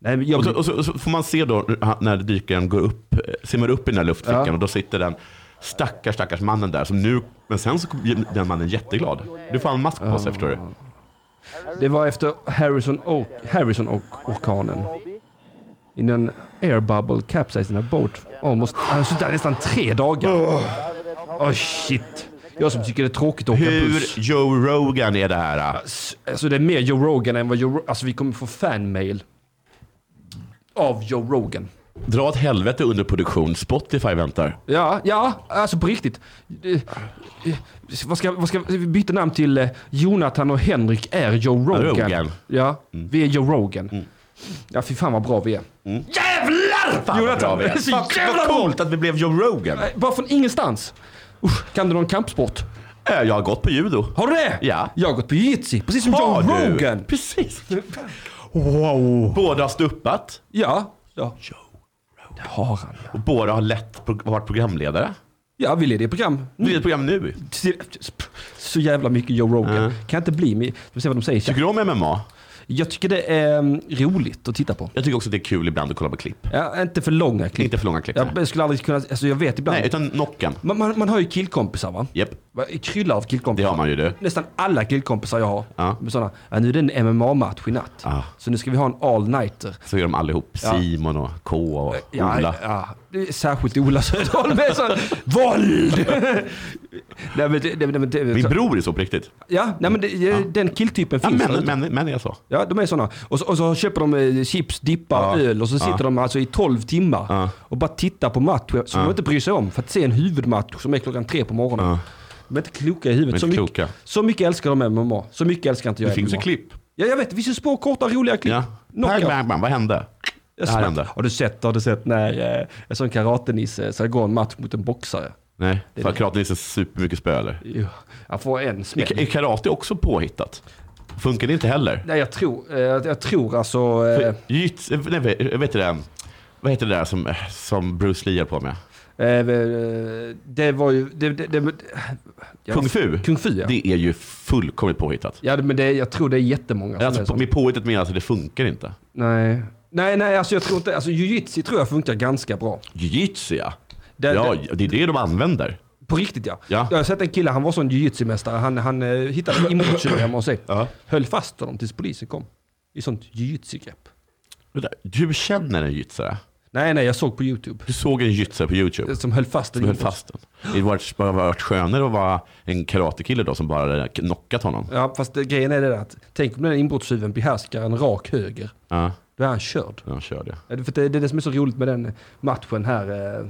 S1: Nej, men jag
S2: Och så,
S1: blir...
S2: och, så, och så får man se då hur han- när dykaren går upp, eh, simmar upp i den här luftfickan
S1: Ja.
S2: och då sitter den stackars, stackars mannen där som nu, men sen så blir den mannen jätteglad. Du får en mask på sig förstår du.
S1: Det var efter Harrison Oak- Harrison-orkanen. In an air bubble capsized in a boat. Almost... Han har suttit där nästan tre dagar. Åh shit. Jag som tycker det är tråkigt att åka buss.
S2: Hur Joe Rogan är det här? eh?
S1: S- Alltså det är mer Joe Rogan än vad Joe Ro- Alltså vi kommer få fanmail. Av Joe Rogan.
S2: Dra åt helvete under produktion, Spotify väntar.
S1: Ja, ja, alltså på riktigt. Eh, eh, Vad ska, vad ska, vi byter namn till eh, Jonathan och Henrik är Joe Rogan. Mm.
S2: Rogan.
S1: Ja, vi är Joe Rogan. Ja, fy fan vad bra vi är.
S2: Jävlar! Fan vad
S1: Mm. Jonathan,
S2: bra vi är.
S1: det är så
S2: Fan,
S1: jävla
S2: vad coolt att vi blev Joe Rogan.
S1: Eh, Bara från ingenstans. Usch, kan du någon kampsport?
S2: Eh, Jag har gått på judo.
S1: Har du det?
S2: Ja.
S1: Jag har gått på jitsi, precis som
S2: Har
S1: Joe
S2: du?
S1: Rogan.
S2: Precis.
S1: Wow.
S2: Båda har stuppat
S1: Ja. ja. Joe Rogan. Det har han. ja.
S2: och båda har lätt pro- varit programledare.
S1: Ja, vi leder ett program.
S2: Det är ett program nu.
S1: Så jävla mycket Joe Rogan.
S2: Ja.
S1: Kan inte bli med. Vi se vad de säger.
S2: Tycker du om MMA?
S1: Jag tycker det är mm, roligt att titta på.
S2: Jag tycker också att det är kul ibland att kolla på klipp.
S1: Ja, inte för långa klipp.
S2: Inte för långa klipp. nej.
S1: Jag skulle aldrig kunna, alltså jag vet ibland.
S2: Nej, utan nocken.
S1: man, man, man har ju killkompisar va?
S2: Japp,
S1: Va, Kryllar av
S2: det
S1: killkompisar.
S2: har man ju du.
S1: Nästan alla killkompisar jag har.
S2: Ja.
S1: Med sådana, ja, nu är det en MMA-match i natt.
S2: Ja.
S1: Så nu ska vi ha en all-nighter.
S2: Så är de allihop.
S1: Ah. Ja. Eh,
S2: Simon och K och
S1: Ja,
S2: Ola.
S1: ja, det är särskilt Ola Söderholm med sån våld! nej, men, det- nej, men, det-
S2: Min
S1: så-
S2: bror är så på riktigt.
S1: ja, nej, men det, den killtypen
S2: Ja,
S1: finns där
S2: män,
S1: ute.
S2: män, män är så.
S1: Ja, de är sådana. Och så, och så köper de eh, chips, dippar,
S2: Ja.
S1: öl och så sitter
S2: Ja.
S1: de alltså i 12 timmar
S2: Ja.
S1: och bara tittar på matchen som de inte bryr sig om för att se en huvudmatch som är klockan tre på morgonen.
S2: Ja.
S1: De är inte kloka i huvudet.
S2: De
S1: Så
S2: är inte
S1: mycket,
S2: kloka.
S1: så mycket älskar de MMA. Så mycket älskar inte jag
S2: Det finns ju
S1: MMA.
S2: klipp.
S1: Ja, jag vet. Det finns ju små, korta, roliga klipp.
S2: Ja.
S1: Knockout.
S2: Bang, bang, bang. Vad hände?
S1: Jag
S2: Det här
S1: smäll-
S2: hände.
S1: Har du sett, har du sett när eh, en sån karatenisse ska gå en match mot en boxare?
S2: Nej,
S1: Det-
S2: för karatenisse supermycket spö eller?
S1: Jo, Han får en smäll.
S2: Är är karate också påhittat? Funkar det inte heller?
S1: Nej, jag tror, eh, jag tror alltså... Eh,
S2: Jits, nej, vet du det? Vad heter det där som, eh, som Bruce Lee höll på med?
S1: eh, det var ju... Det, det, det, jag-
S2: Kung fu?
S1: Kung fu, ja.
S2: Det är ju fullkomligt påhittat.
S1: Ja, men det, jag tror det är jättemånga som är
S2: Alltså,
S1: så.
S2: med påhittat menas att det funkar inte.
S1: Nej. Nej, nej, alltså jag tror inte... Alltså jujitsu tror jag funkar ganska bra.
S2: Jiu-jitsu ja.
S1: Det-
S2: ja, det är det de använder.
S1: På riktigt ja.
S2: Ja.
S1: Jag har sett en kille, han var sån jujutsu-mästare. Han, han eh, hittade imochi hemma hos sig.
S2: Ja.
S1: Höll fast honom tills polisen kom. I sånt jujutsu-grepp.
S2: Vänta, Du känner en jitsare?
S1: Nej, nej, jag såg på YouTube.
S2: Du såg en jitsare på YouTube?
S1: Som höll fast
S2: Du höll fast den. Det hade varit, bara varit skönare att vara en karatekille då som bara knockat honom.
S1: Ja, fast det, grejen är det där att tänk om den inbrottstjuven behärskar en rak höger.
S2: Ja,
S1: Då är han körd.
S2: jag kör det.
S1: Ja, det- För det, det är det som är så roligt med den matchen här. Eh,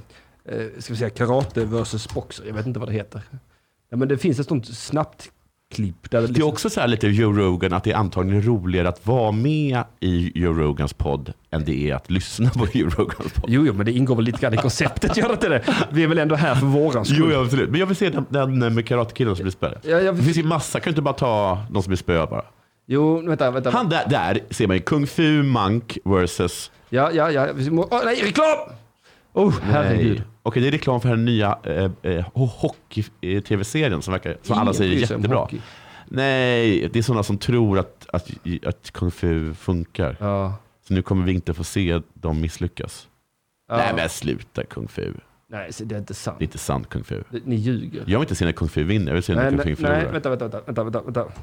S1: eh, ska vi säga karate versus boxer. Jag vet inte vad det heter. Ja, men det finns ett sånt snabbt klipp. Där det
S2: Det är
S1: liksom,
S2: också så här lite Joe Rogan, att det är antagligen roligare att vara med i Joe Rogans podd än det är att lyssna på Joe Rogans podd.
S1: jo, jo, men det ingår väl lite grann i konceptet, gör det inte det? Vi är väl ändå här för våran skull.
S2: Jo, ja, absolut. Men jag vill se den, den med karatekillen som blir spöad.
S1: Ja, jag-
S2: Det finns ju massa, kan du inte bara ta någon som blir spöad bara?
S1: Jo, vänta, vänta.
S2: Han där, där ser man ju Kung Fu Monk versus...
S1: Ja, ja, ja. Vi må- Åh, nej, reklam! Oh, herregud.
S2: Nej. eh, Okej, det är reklam för den nya eh, eh, hockey-tv-serien som, verkar, som alla
S1: Ingen
S2: säger är
S1: bryr sig om
S2: jättebra.
S1: hockey.
S2: Nej, det är sådana som tror att, att, att Kung Fu funkar.
S1: Ja.
S2: Så nu kommer vi inte få se dem misslyckas.
S1: ja.
S2: Nej men sluta Kung Fu.
S1: Nej, så det är inte sant.
S2: Det är inte sant Kung Fu.
S1: Ni ljuger.
S2: Jag vill inte se när Kung Fu vinner, jag vill se när
S1: nej,
S2: Kung Fu
S1: nej, nej,
S2: förlorar.
S1: vänta, vänta, vänta, vänta, vänta, vänta.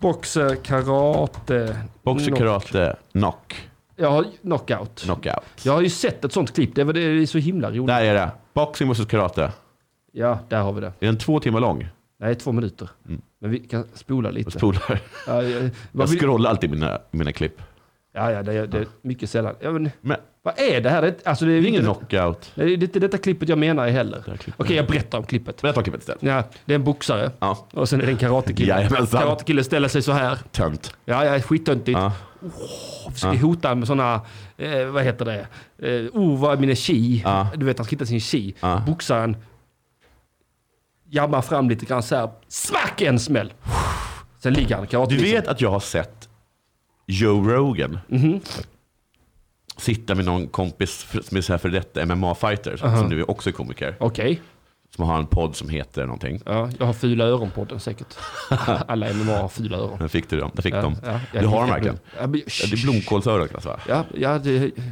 S1: Boxer, karate.
S2: Boxer,
S1: knock-
S2: karate, knock,
S1: Jag har knockout.
S2: knockout.
S1: Jag har ju sett ett sånt klipp. Det är, det är så himla roligt.
S2: Där är det. Boxing versus karate.
S1: Ja, där har vi det.
S2: Är den två timmar lång?
S1: Nej, två minuter. Men vi kan spola lite.
S2: Jag spolar.
S1: Ja, ja, vad
S2: Mm. Jag
S1: vill-
S2: scrollar alltid mina, mina klipp.
S1: ja, ja, det, är- det är mycket sällan. Ja, men,
S2: Men
S1: vad är det här? Det är, inte- alltså, det är
S2: det är ingen
S1: inte-
S2: knockout.
S1: Nej, Det är inte detta klippet jag menar heller.
S2: Det
S1: Okej,
S2: här klippet.
S1: jag berättar om klippet.
S2: Men jag tar klippet istället.
S1: Ja, det är en boxare
S2: Ja,
S1: och sen är det en karatekille.
S2: Jajamensan.
S1: Karatekille ställer sig så här.
S2: tönt.
S1: Ja, ja, skittöntigt.
S2: Ja.
S1: Och försöker hota med sådana, eh, vad heter det, eh, oh vad är mina chi?
S2: Ja.
S1: Du vet, han ska hitta sin chi.
S2: Ja.
S1: Boxaren jammar fram lite grann så här, smack en smäll. Sen ligger han karate.
S2: Du vet att jag har sett Joe Rogan sitta med någon kompis för- som är så här för detta MMA-fighter, som nu är också är komiker,
S1: Okej,
S2: som har en podd som heter någonting.
S1: ja, jag har fula öron på den säkert. Alla MMA har fula öron.
S2: Där fick du dem. Där fick
S1: Ja,
S2: de.
S1: ja, jag-
S2: du har dem verkligen.
S1: Ja, men-
S2: Ja, det är blomkålsöron kallas va?
S1: Ja, ja det, shh.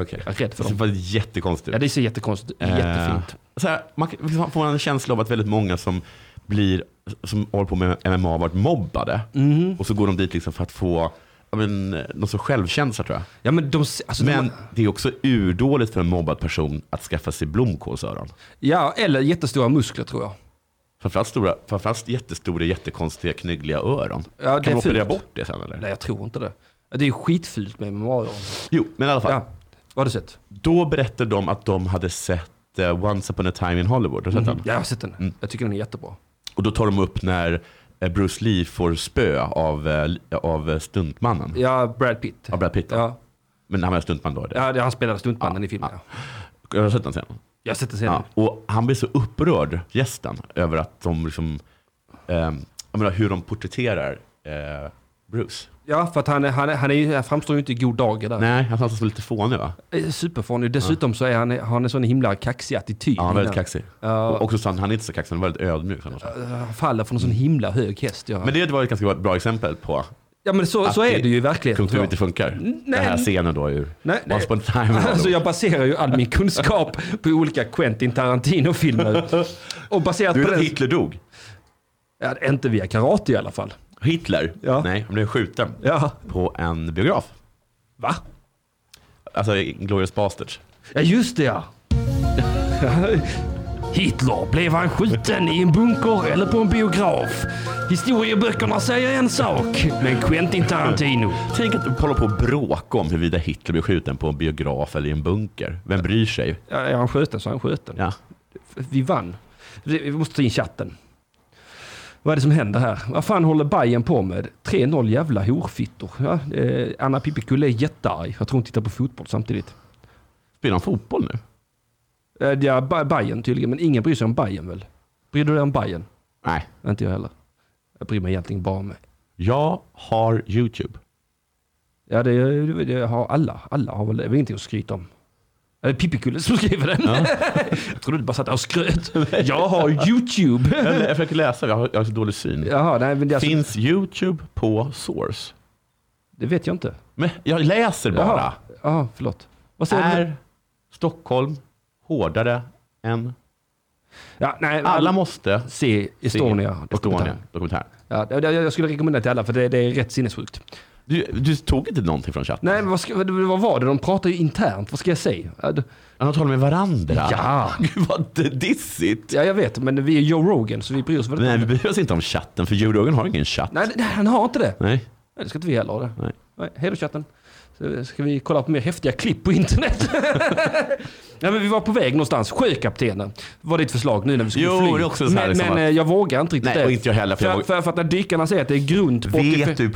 S2: Okej.
S1: jag är rädd för
S2: Det
S1: dem.
S2: var jättekonstigt
S1: Ja,
S2: ut.
S1: det ser jättekonstigt ut.
S2: Eh,
S1: Jättefint.
S2: Så här, man kan- man får en känsla av att väldigt många som blir, som håller på med MMA har varit mobbade.
S1: Mhm.
S2: Och så går de dit liksom för att få ja, men, eh, någon sorts självkänsla tror jag.
S1: Ja, men de, alltså,
S2: Men
S1: men,
S2: det är också urdåligt för en mobbad person att skaffa sig blomkålsöron.
S1: ja, eller jättestora muskler tror jag.
S2: Framförallt, stora, framförallt jättestora, jättekonstiga, knyggliga öron.
S1: Ja, det är
S2: kan man operera
S1: fult.
S2: bort det sen eller?
S1: Nej, jag tror inte det. Det är ju skitfult med MMA-öron.
S2: Jo, men i alla fall.
S1: Ja, vad har du sett?
S2: Då berättade de att de hade sett eh, Once upon a time in Hollywood. Har du sett den?
S1: Mm.
S2: Mm.
S1: Ja, jag har sett den. Jag tycker den är jättebra.
S2: Och då tar de upp när eh, Bruce Lee får spö av, eh, li- av eh, stuntmannen.
S1: Ja, Brad Pitt.
S2: Av Brad Pitt. då.
S1: Ja,
S2: Men han var en stuntman då. Det.
S1: ja det, han spelade stuntmannen i filmen. Ja.
S2: Jag har sett den sen.
S1: Jag har sett den
S2: Ja.
S1: senare.
S2: Och han blir så upprörd, gästen, över att de liksom, ehm, jag menar hur de porträtterar eh, Bruce.
S1: Ja, för att han, är- han, är- han, är, ju- han framstår ju inte i god dager där.
S2: Nej, han framstår som lite fånig va?
S1: Eh, Superfånig. Dessutom så är han, har han en sån himla kaxig attityd.
S2: Ja, han är väldigt
S1: innan.
S2: kaxig.
S1: Ja.
S2: Och också så han, han är inte så kaxig, han är väldigt ödmjuk. eller något sånt.
S1: Eh, Han faller från en sån himla hög häst. Ja,
S2: Men
S1: men,
S2: det var ett ganska bra exempel på
S1: ja, men så,
S2: att
S1: så är det ju i verkligheten.
S2: Kung Fu
S1: tror jag.
S2: inte funkar. Den här scenen då ur
S1: Nej, nej.
S2: Once upon a time in
S1: Alltså
S2: Hollywood.
S1: jag baserar ju all min kunskap på olika Quentin Tarantino-filmer. Och baserat
S2: Du
S1: på
S2: vet att
S1: den...
S2: Hitler dog?
S1: Ja, inte via karate i alla fall.
S2: Hitler?
S1: Ja.
S2: Nej, han blev skjuten
S1: Ja.
S2: på en biograf.
S1: Va?
S2: Alltså Glorious Bastards.
S1: Ja, just det ja. Hitler, blev han skjuten i en bunker eller på en biograf? Historieböckerna säger en sak, men Quentin Tarantino.
S2: Tänk att hålla på och bråka om huruvida Hitler blev skjuten på en biograf eller i en bunker. Vem bryr sig?
S1: Ja, är han skjuten så är han skjuten.
S2: Ja.
S1: Vi vann. Vi vi måste ta in chatten. Vad är det som händer här? Vad fan håller Bayern på med? 3-0 jävla horfittor. Ja, eh, Anna Pippikulle är jättearg. Jag tror hon tittar på fotboll samtidigt.
S2: Spelar han fotboll nu?
S1: Eh, ja, Ba- Bayern tydligen, men ingen bryr sig om Bayern väl? Bryr du dig om Bayern?
S2: Nej.
S1: Inte jag heller. Jag bryr mig egentligen bara om...
S2: Jag har YouTube.
S1: Ja, det, det, det har alla. Alla har väl det. är väl ingenting att skryta om. Är det Pippikulle som skriver den? jag trodde du bara satt där och skröt. jag har YouTube.
S2: Jag, jag försöker läsa, jag har, jag har så dålig syn.
S1: Jaha, nej, men det, alltså,
S2: Finns YouTube på Source?
S1: det vet jag inte.
S2: Men jag läser bara.
S1: Jaha, förlåt. Vad säger du?
S2: Är Stockholm hårdare än...
S1: Ja, nej,
S2: Alla måste
S1: se Estonia.
S2: se Estonia dokumentär.
S1: Ja, det- det- jag skulle rekommendera till alla för det, det är rätt sinnessjukt.
S2: Du, du tog inte någonting från chatten?
S1: Nej, men vad, ska, vad- vad var det? De pratar ju internt. Vad ska jag säga? Ja, det-
S2: Han talar med varandra.
S1: Ja.
S2: Gud vad dissigt.
S1: Ja, jag vet, men vi är Joe Rogan så vi bryr oss väldigt
S2: Nej, vi
S1: mycket.
S2: bryr oss inte om chatten, för Joe Rogan har ingen chatt.
S1: Nej, nej, han har inte det.
S2: Nej.
S1: Nej, det ska inte vi heller ha det.
S2: Nej.
S1: Nej, hej då chatten. Så eh, Ska vi kolla på mer häftiga klipp på internet? Nej, men vi var på väg någonstans. Sjökaptenen var ditt förslag nu när vi skulle
S2: Jo,
S1: fly.
S2: det är också så här
S1: men
S2: liksom
S1: men
S2: att-
S1: eh, jag vågar inte riktigt
S2: Nej,
S1: det.
S2: och inte jag heller, för
S1: För,
S2: jag
S1: för,
S2: våg-
S1: för, att när dykarna säger att det är grunt på
S2: Vet du,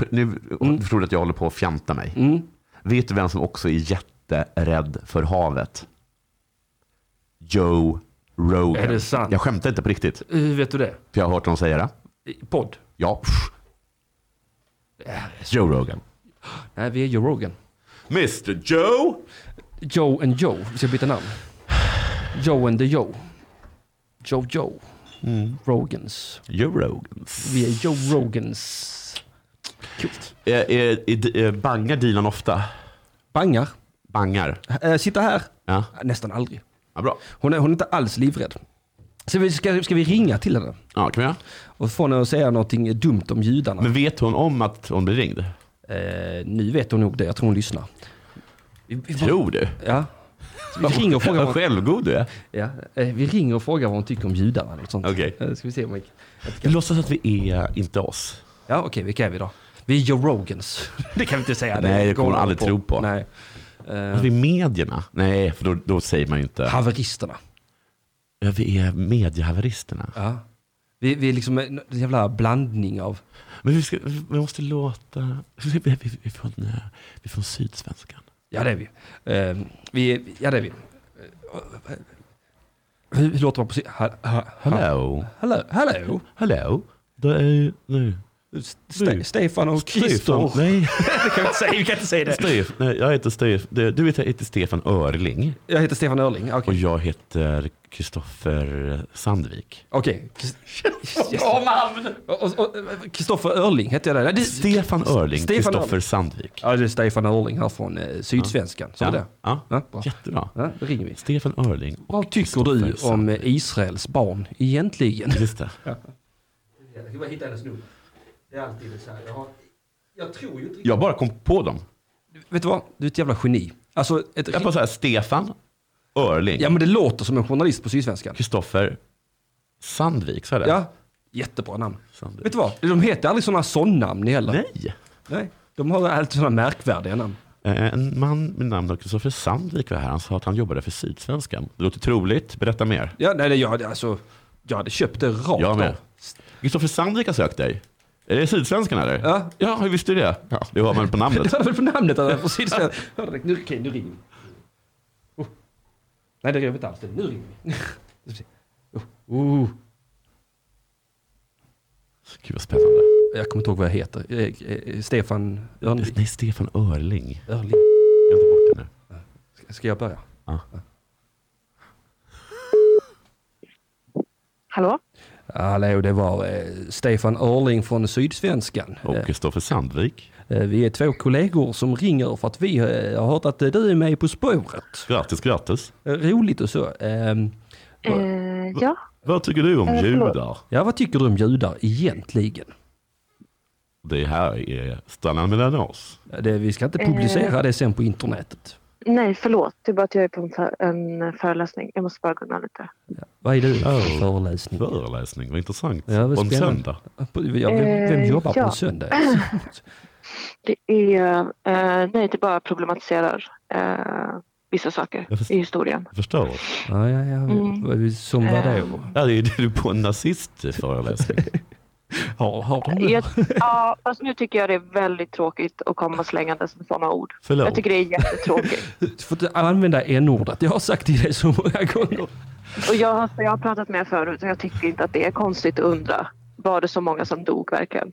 S2: nu tror du att jag håller på att fjanta mig. Vet du vem som också är jätterädd för havet? Joe Rogan.
S1: Är det sant?
S2: Jag skämtar inte på riktigt.
S1: Hur Eh, vet du det?
S2: För jag har hört honom säga det.
S1: I Podd?
S2: Ja. Joe Rogan.
S1: Nej, vi är Joe Rogan.
S2: Mr Joe!
S1: Joe and Joe. Vi ska byta namn. Joe and the Joe. Joe Joe.
S2: Mm.
S1: Rogans.
S2: Joe Rogan.
S1: Vi är Joe Rogans. Coolt.
S2: Är, är, är, är, bangar Dilan ofta?
S1: Bangar.
S2: Bangar.
S1: Eh, sitta här.
S2: Ja,
S1: Nästan aldrig.
S2: ja bra.
S1: Hon är, hon är inte alls livrädd. Så vi ska, ska vi ringa till henne
S2: Ja, kan vi göra?
S1: och få henne att säga någonting dumt om judarna.
S2: Men vet hon om att hon blir ringd?
S1: Eh, nu vet hon nog det, jag tror hon lyssnar. Vi, vi,
S2: Tror du?
S1: Ja. Så Vi ringer, och frågar
S2: Vad
S1: vad,
S2: självgod du är.
S1: ja, eh, vi ringer och frågar vad hon tycker om judarna. eller något sånt.
S2: Okej.
S1: Eh, Ska vi se om vi, att vi kan-
S2: Låtsas att vi är inte oss.
S1: Ja, okej, vilka är vi då? Vi är Joe Rogans. Det kan vi inte säga.
S2: Nej, det kommer hon
S1: går
S2: aldrig tro på.
S1: Nej. Eh,
S2: Att Alltså, vi är medierna? Nej, för då, då säger man ju inte.
S1: haveristerna.
S2: Ja, vi är mediehaveristerna.
S1: Ja. Vi, vi är liksom en jävla blandning av...
S2: Men vi, ska, vi måste låta... Vi, vi, vi, vi, är från, eh, vi är från Sydsvenskan.
S1: Ja, det är vi. Eh, vi är- ja, det är vi. Eh, Hur hur låter man på... si- Ha, ha, ha,
S2: Hello.
S1: hallå? Hallå?
S2: Hello. Det är... Nu.
S1: Ste,
S2: Du.
S1: Stefan och
S2: Stefan.
S1: Christer.
S2: Nej.
S1: Det kan vi inte säga. Vi kan inte säga det.
S2: Stef, nej, jag heter Stef, det- du heter, heter Stefan Örling
S1: Jag heter Stefan Örling. Okej.
S2: och jag heter Kristoffer Sandvik.
S1: Okej. Och- och- och- Kristoffer Örling heter jag där. Nej, det-
S2: Stefan Örling,
S1: Stefan
S2: Kristoffer
S1: Örling.
S2: Sandvik.
S1: Ja, det är Stefan Örling här från eh, Sydsvenskan. Sa
S2: ja.
S1: vi det?
S2: Ja.
S1: Ja, bra.
S2: Jättebra.
S1: Ja, då ringer vi.
S2: Stefan Örling. och
S1: Vad tycker
S2: Kristoffer
S1: du om
S2: Sandvik.
S1: eh, Israels barn egentligen?
S2: Just det.
S1: Jag ska bara hitta hennes nummer. Det är alltid så här. Jag, tror ju inte
S2: Jag bara kom på dem.
S1: Vet du vad? Du är ett jävla geni. Alltså, ett...
S2: Jag bara så här, Stefan Örling,
S1: Ja, men det låter som en journalist på Sydsvenskan.
S2: Kristoffer Sandvik, sa jag det?
S1: Ja, jättebra namn.
S2: Sandvik.
S1: Vet du vad? De heter aldrig sådana sån-namn heller.
S2: Nej.
S1: Nej. De har alltid sådana märkvärdiga namn.
S2: Eh, En man med namn Kristoffer Sandvik var här. Han sa att han jobbade för Sydsvenskan. Det låter troligt. Berätta mer.
S1: Ja, nej, det, jag, hade- alltså, jag hade köpt det rakt
S2: Jag med.
S1: av.
S2: Kristoffer Sandvik har sökt dig. Är det Sydsvenskan eller?
S1: Ja.
S2: Ja, hur visste du det? Ja. Det hör man på
S1: Du
S2: namnet.
S1: hörde väl på namnet? Att jag får sitta- Hörde direkt, nu, okej, nu ringer vi. Oh. Nej, det gör vi inte alls. Nu ringer vi. Nu ska vi se. Oh. Oh.
S2: Gud vad spännande.
S1: Jag kommer inte ihåg vad jag heter. Eh, eh, Stefan Örnling.
S2: Nej, Stefan Örling.
S1: Örling.
S2: Jag är inte borta nu.
S1: Ska- Ska jag börja?
S2: Ja.
S3: Hallå?
S1: Hallå, det var eh, Stefan Örling från Sydsvenskan.
S2: Och Kristoffer Sandvik.
S1: Eh, vi är två kollegor som ringer för att vi eh, har hört att eh, du är med På spåret.
S2: Grattis, grattis.
S1: Eh, Roligt och så. Ehm,
S3: Eh, ja.
S2: Vad tycker du om
S3: Eh, förlåt.
S2: judar?
S1: ja, vad tycker du om judar egentligen?
S2: Det här är Stanna mellan oss.
S1: Det, vi ska inte
S3: Eh.
S1: publicera det sen på internetet.
S3: Nej, förlåt. Det är bara att jag är på en, fö- en föreläsning. Jag måste bara gå undan lite.
S1: Vad är det för
S2: Oh.
S1: föreläsning?
S2: Föreläsning, vad intressant.
S1: Ja, vad
S2: på en
S1: spännande.
S2: söndag.
S1: Ja, vem, vem
S3: Eh,
S1: jobbar på
S3: ja.
S1: en söndag?
S3: Det är, eh, nej, det bara problematiserar eh, vissa saker
S2: Jag förstår.
S3: i historien.
S2: Jag förstår.
S1: Ja, ja, ja.
S3: Mm.
S1: Som vadå?
S2: Ja, det är det är på en nazistföreläsning.
S1: Har, har de det?
S3: Jag, ja, fast nu tycker jag det är väldigt tråkigt att komma slängandes med sådana ord.
S2: Förlåt.
S3: Jag tycker det är jättetråkigt.
S1: Du får inte använda n-ordet. Jag har sagt till dig så många gånger.
S3: Och jag, har- jag har pratat med er förut och jag tycker inte att det är konstigt att undra. Var det så många som dog verkligen?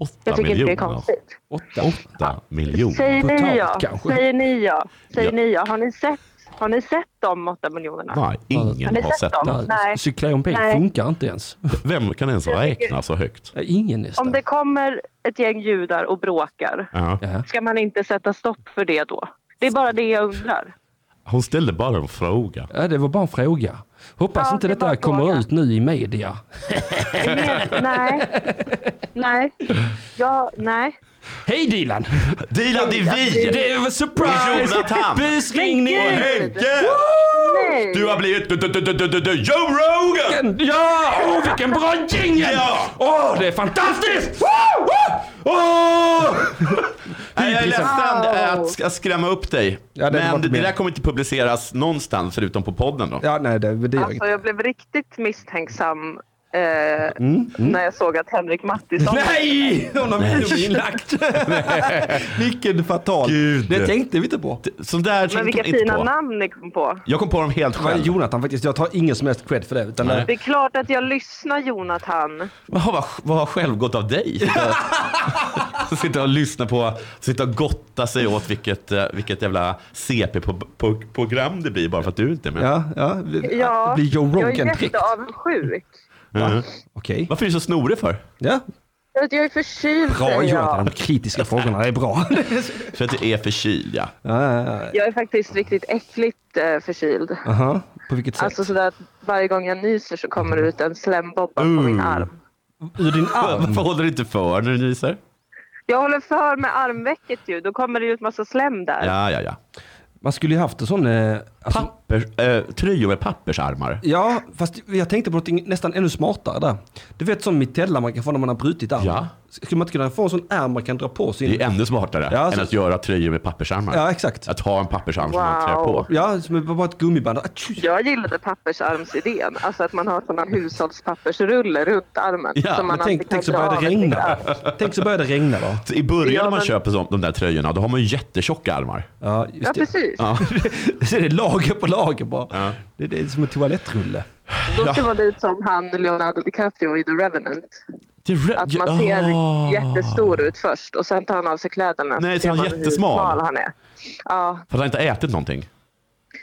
S2: Åtta
S3: Jag tycker inte
S2: miljoner.
S3: det är konstigt.
S1: Åtta.
S2: Åtta miljoner.
S3: Säger
S1: Totalt,
S3: ni ja?
S1: kanske.
S3: Säger ni ja? Säger
S2: Ja.
S3: ni ja? Har ni sett, har ni sett de åtta miljonerna?
S2: Nej, ingen
S3: Har ni
S2: har
S3: sett
S2: sett
S3: dem?
S2: det.
S1: Nej,
S3: Nej.
S1: Cyklon B
S3: Nej.
S1: funkar inte ens.
S2: Vem kan ens räkna så högt?
S1: Ingen nästan.
S3: Om det kommer ett gäng judar och bråkar,
S2: Ja.
S1: Ja.
S3: ska man inte sätta stopp för det då? Det är bara det jag undrar.
S2: Hon ställde bara en fråga.
S1: Ja, det var bara en fråga. Hoppas
S3: Ja,
S1: inte
S3: det var
S1: detta
S3: en
S1: kommer
S3: fråga.
S1: ut nu i media.
S3: nej. Nej. Ja, nej.
S1: Hej Dilan!
S2: Dilan, det är vi!
S1: Det var surprise!
S2: Jonathan!
S1: Busringning!
S3: Men gud!
S2: Henke!
S3: Nej.
S2: Du har blivit du- du- du- du- du- du- du- Joe Rogan!
S1: Vilken- Ja! Åh, vilken bra jingel!
S2: Ja!
S1: Åh, det är fantastiskt! Woo! Woo! Åh!
S2: jag är
S1: Nobelprisen.
S2: ledsen eh,
S4: Wow.
S2: att sk- skrämma upp dig.
S1: Ja, det var
S2: men det,
S1: inte
S2: det där
S1: meningen.
S2: kommer inte publiceras någonstans förutom på podden då.
S1: Ja, nej, det, det gör inget.
S4: Alltså jag blev riktigt misstänksam eh,
S1: Mm,
S4: när jag såg att Henrik
S3: Alltså,
S4: Mattisson...
S1: Nej! Hon har blivit inlagt. Vilken fatal.
S2: Gud.
S1: Det tänkte vi inte på.
S2: Sånt där
S4: Men
S2: tänkte
S4: vilka
S2: man inte
S4: fina
S2: på.
S4: namn ni kom på.
S2: Jag kom på dem helt
S1: Men
S2: själv.
S1: Jonathan faktiskt, jag tar ingen som helst cred för det. Utan eh,
S2: Nej.
S4: Det är klart att jag lyssnar Jonathan.
S2: Jaha, vad, vad har självgott av dig? Sitta- sitta och lyssna på, sitta och gotta sig åt vilket, eh, vilket jävla CP-program det blir bara för att du inte är med.
S1: Ja, ja. vi-
S4: Ja,
S1: det blir Joe
S4: jag är
S1: Rogan-prick.
S4: jätteavundsjuk.
S2: Mhm.
S1: Okej.
S2: Varför är du så snorig för?
S1: Ja.
S4: För att jag är förkyld
S1: Bra
S4: säger
S1: Jonathan,
S4: jag.
S1: de kritiska frågorna, det är bra.
S2: För att du är förkyld ja.
S1: Ja, ja, ja.
S4: Jag är faktiskt riktigt äckligt eh, förkyld.
S1: Aha, på vilket Alltså, sätt?
S4: Alltså sådär att varje gång jag nyser så kommer det ut en slembobba på
S2: Ooh.
S4: min arm.
S1: Ur din arm?
S2: Varför håller du inte för när du nyser?
S4: Jag håller för med armvecket ju. Då kommer det ut massa slem där.
S2: Ja, ja, ja.
S1: Man skulle ju haft en sån... eh, Alltså,
S2: Papper, eh, tröjor med pappersarmar.
S1: ja, fast jag tänkte på något nästan ännu smartare där. Du vet som mitella man kan få när man har brutit armen.
S2: Ja.
S1: Skulle man inte kunna få en sån ärm man kan dra på
S2: Det är
S1: sin...
S2: ju ännu smartare
S1: Ja, alltså-
S2: än att göra tröjor med pappersarmar.
S1: Ja, exakt.
S2: Att ha en pappersarm som man klär
S4: Wow.
S2: på.
S1: Ja, som är bara ett gummiband. Atju.
S4: Jag gillade pappersarmsidén. Alltså att man har sådana hushållspappersrullar runt armen.
S2: Ja,
S4: som man
S1: Men tänk,
S4: alltid kan
S1: tänk så
S4: dra
S1: började
S4: av
S1: det
S4: ett
S1: regna.
S4: arm.
S1: Tänk så började det regna då.
S2: I början
S4: Ja,
S2: när man
S4: men-
S2: köper så, de där tröjorna, då har man ju jättetjocka armar.
S1: Ja, just
S4: Ja,
S1: det.
S4: precis.
S2: Ja.
S1: Så är det lager på lager bara.
S2: Ja.
S1: Det, det är som en toalettrulle.
S4: Då ska man lite som han Leonardo DiCaprio i The Revenant.
S2: Det är re-
S4: Att man ser
S2: Ah.
S4: jättestor ut först och sen tar han av sig kläderna.
S2: Nej, så
S4: så ser
S2: han är
S4: man
S2: jättesmal.
S4: Hur smal han är. Ja,
S2: För att han inte har ätit någonting.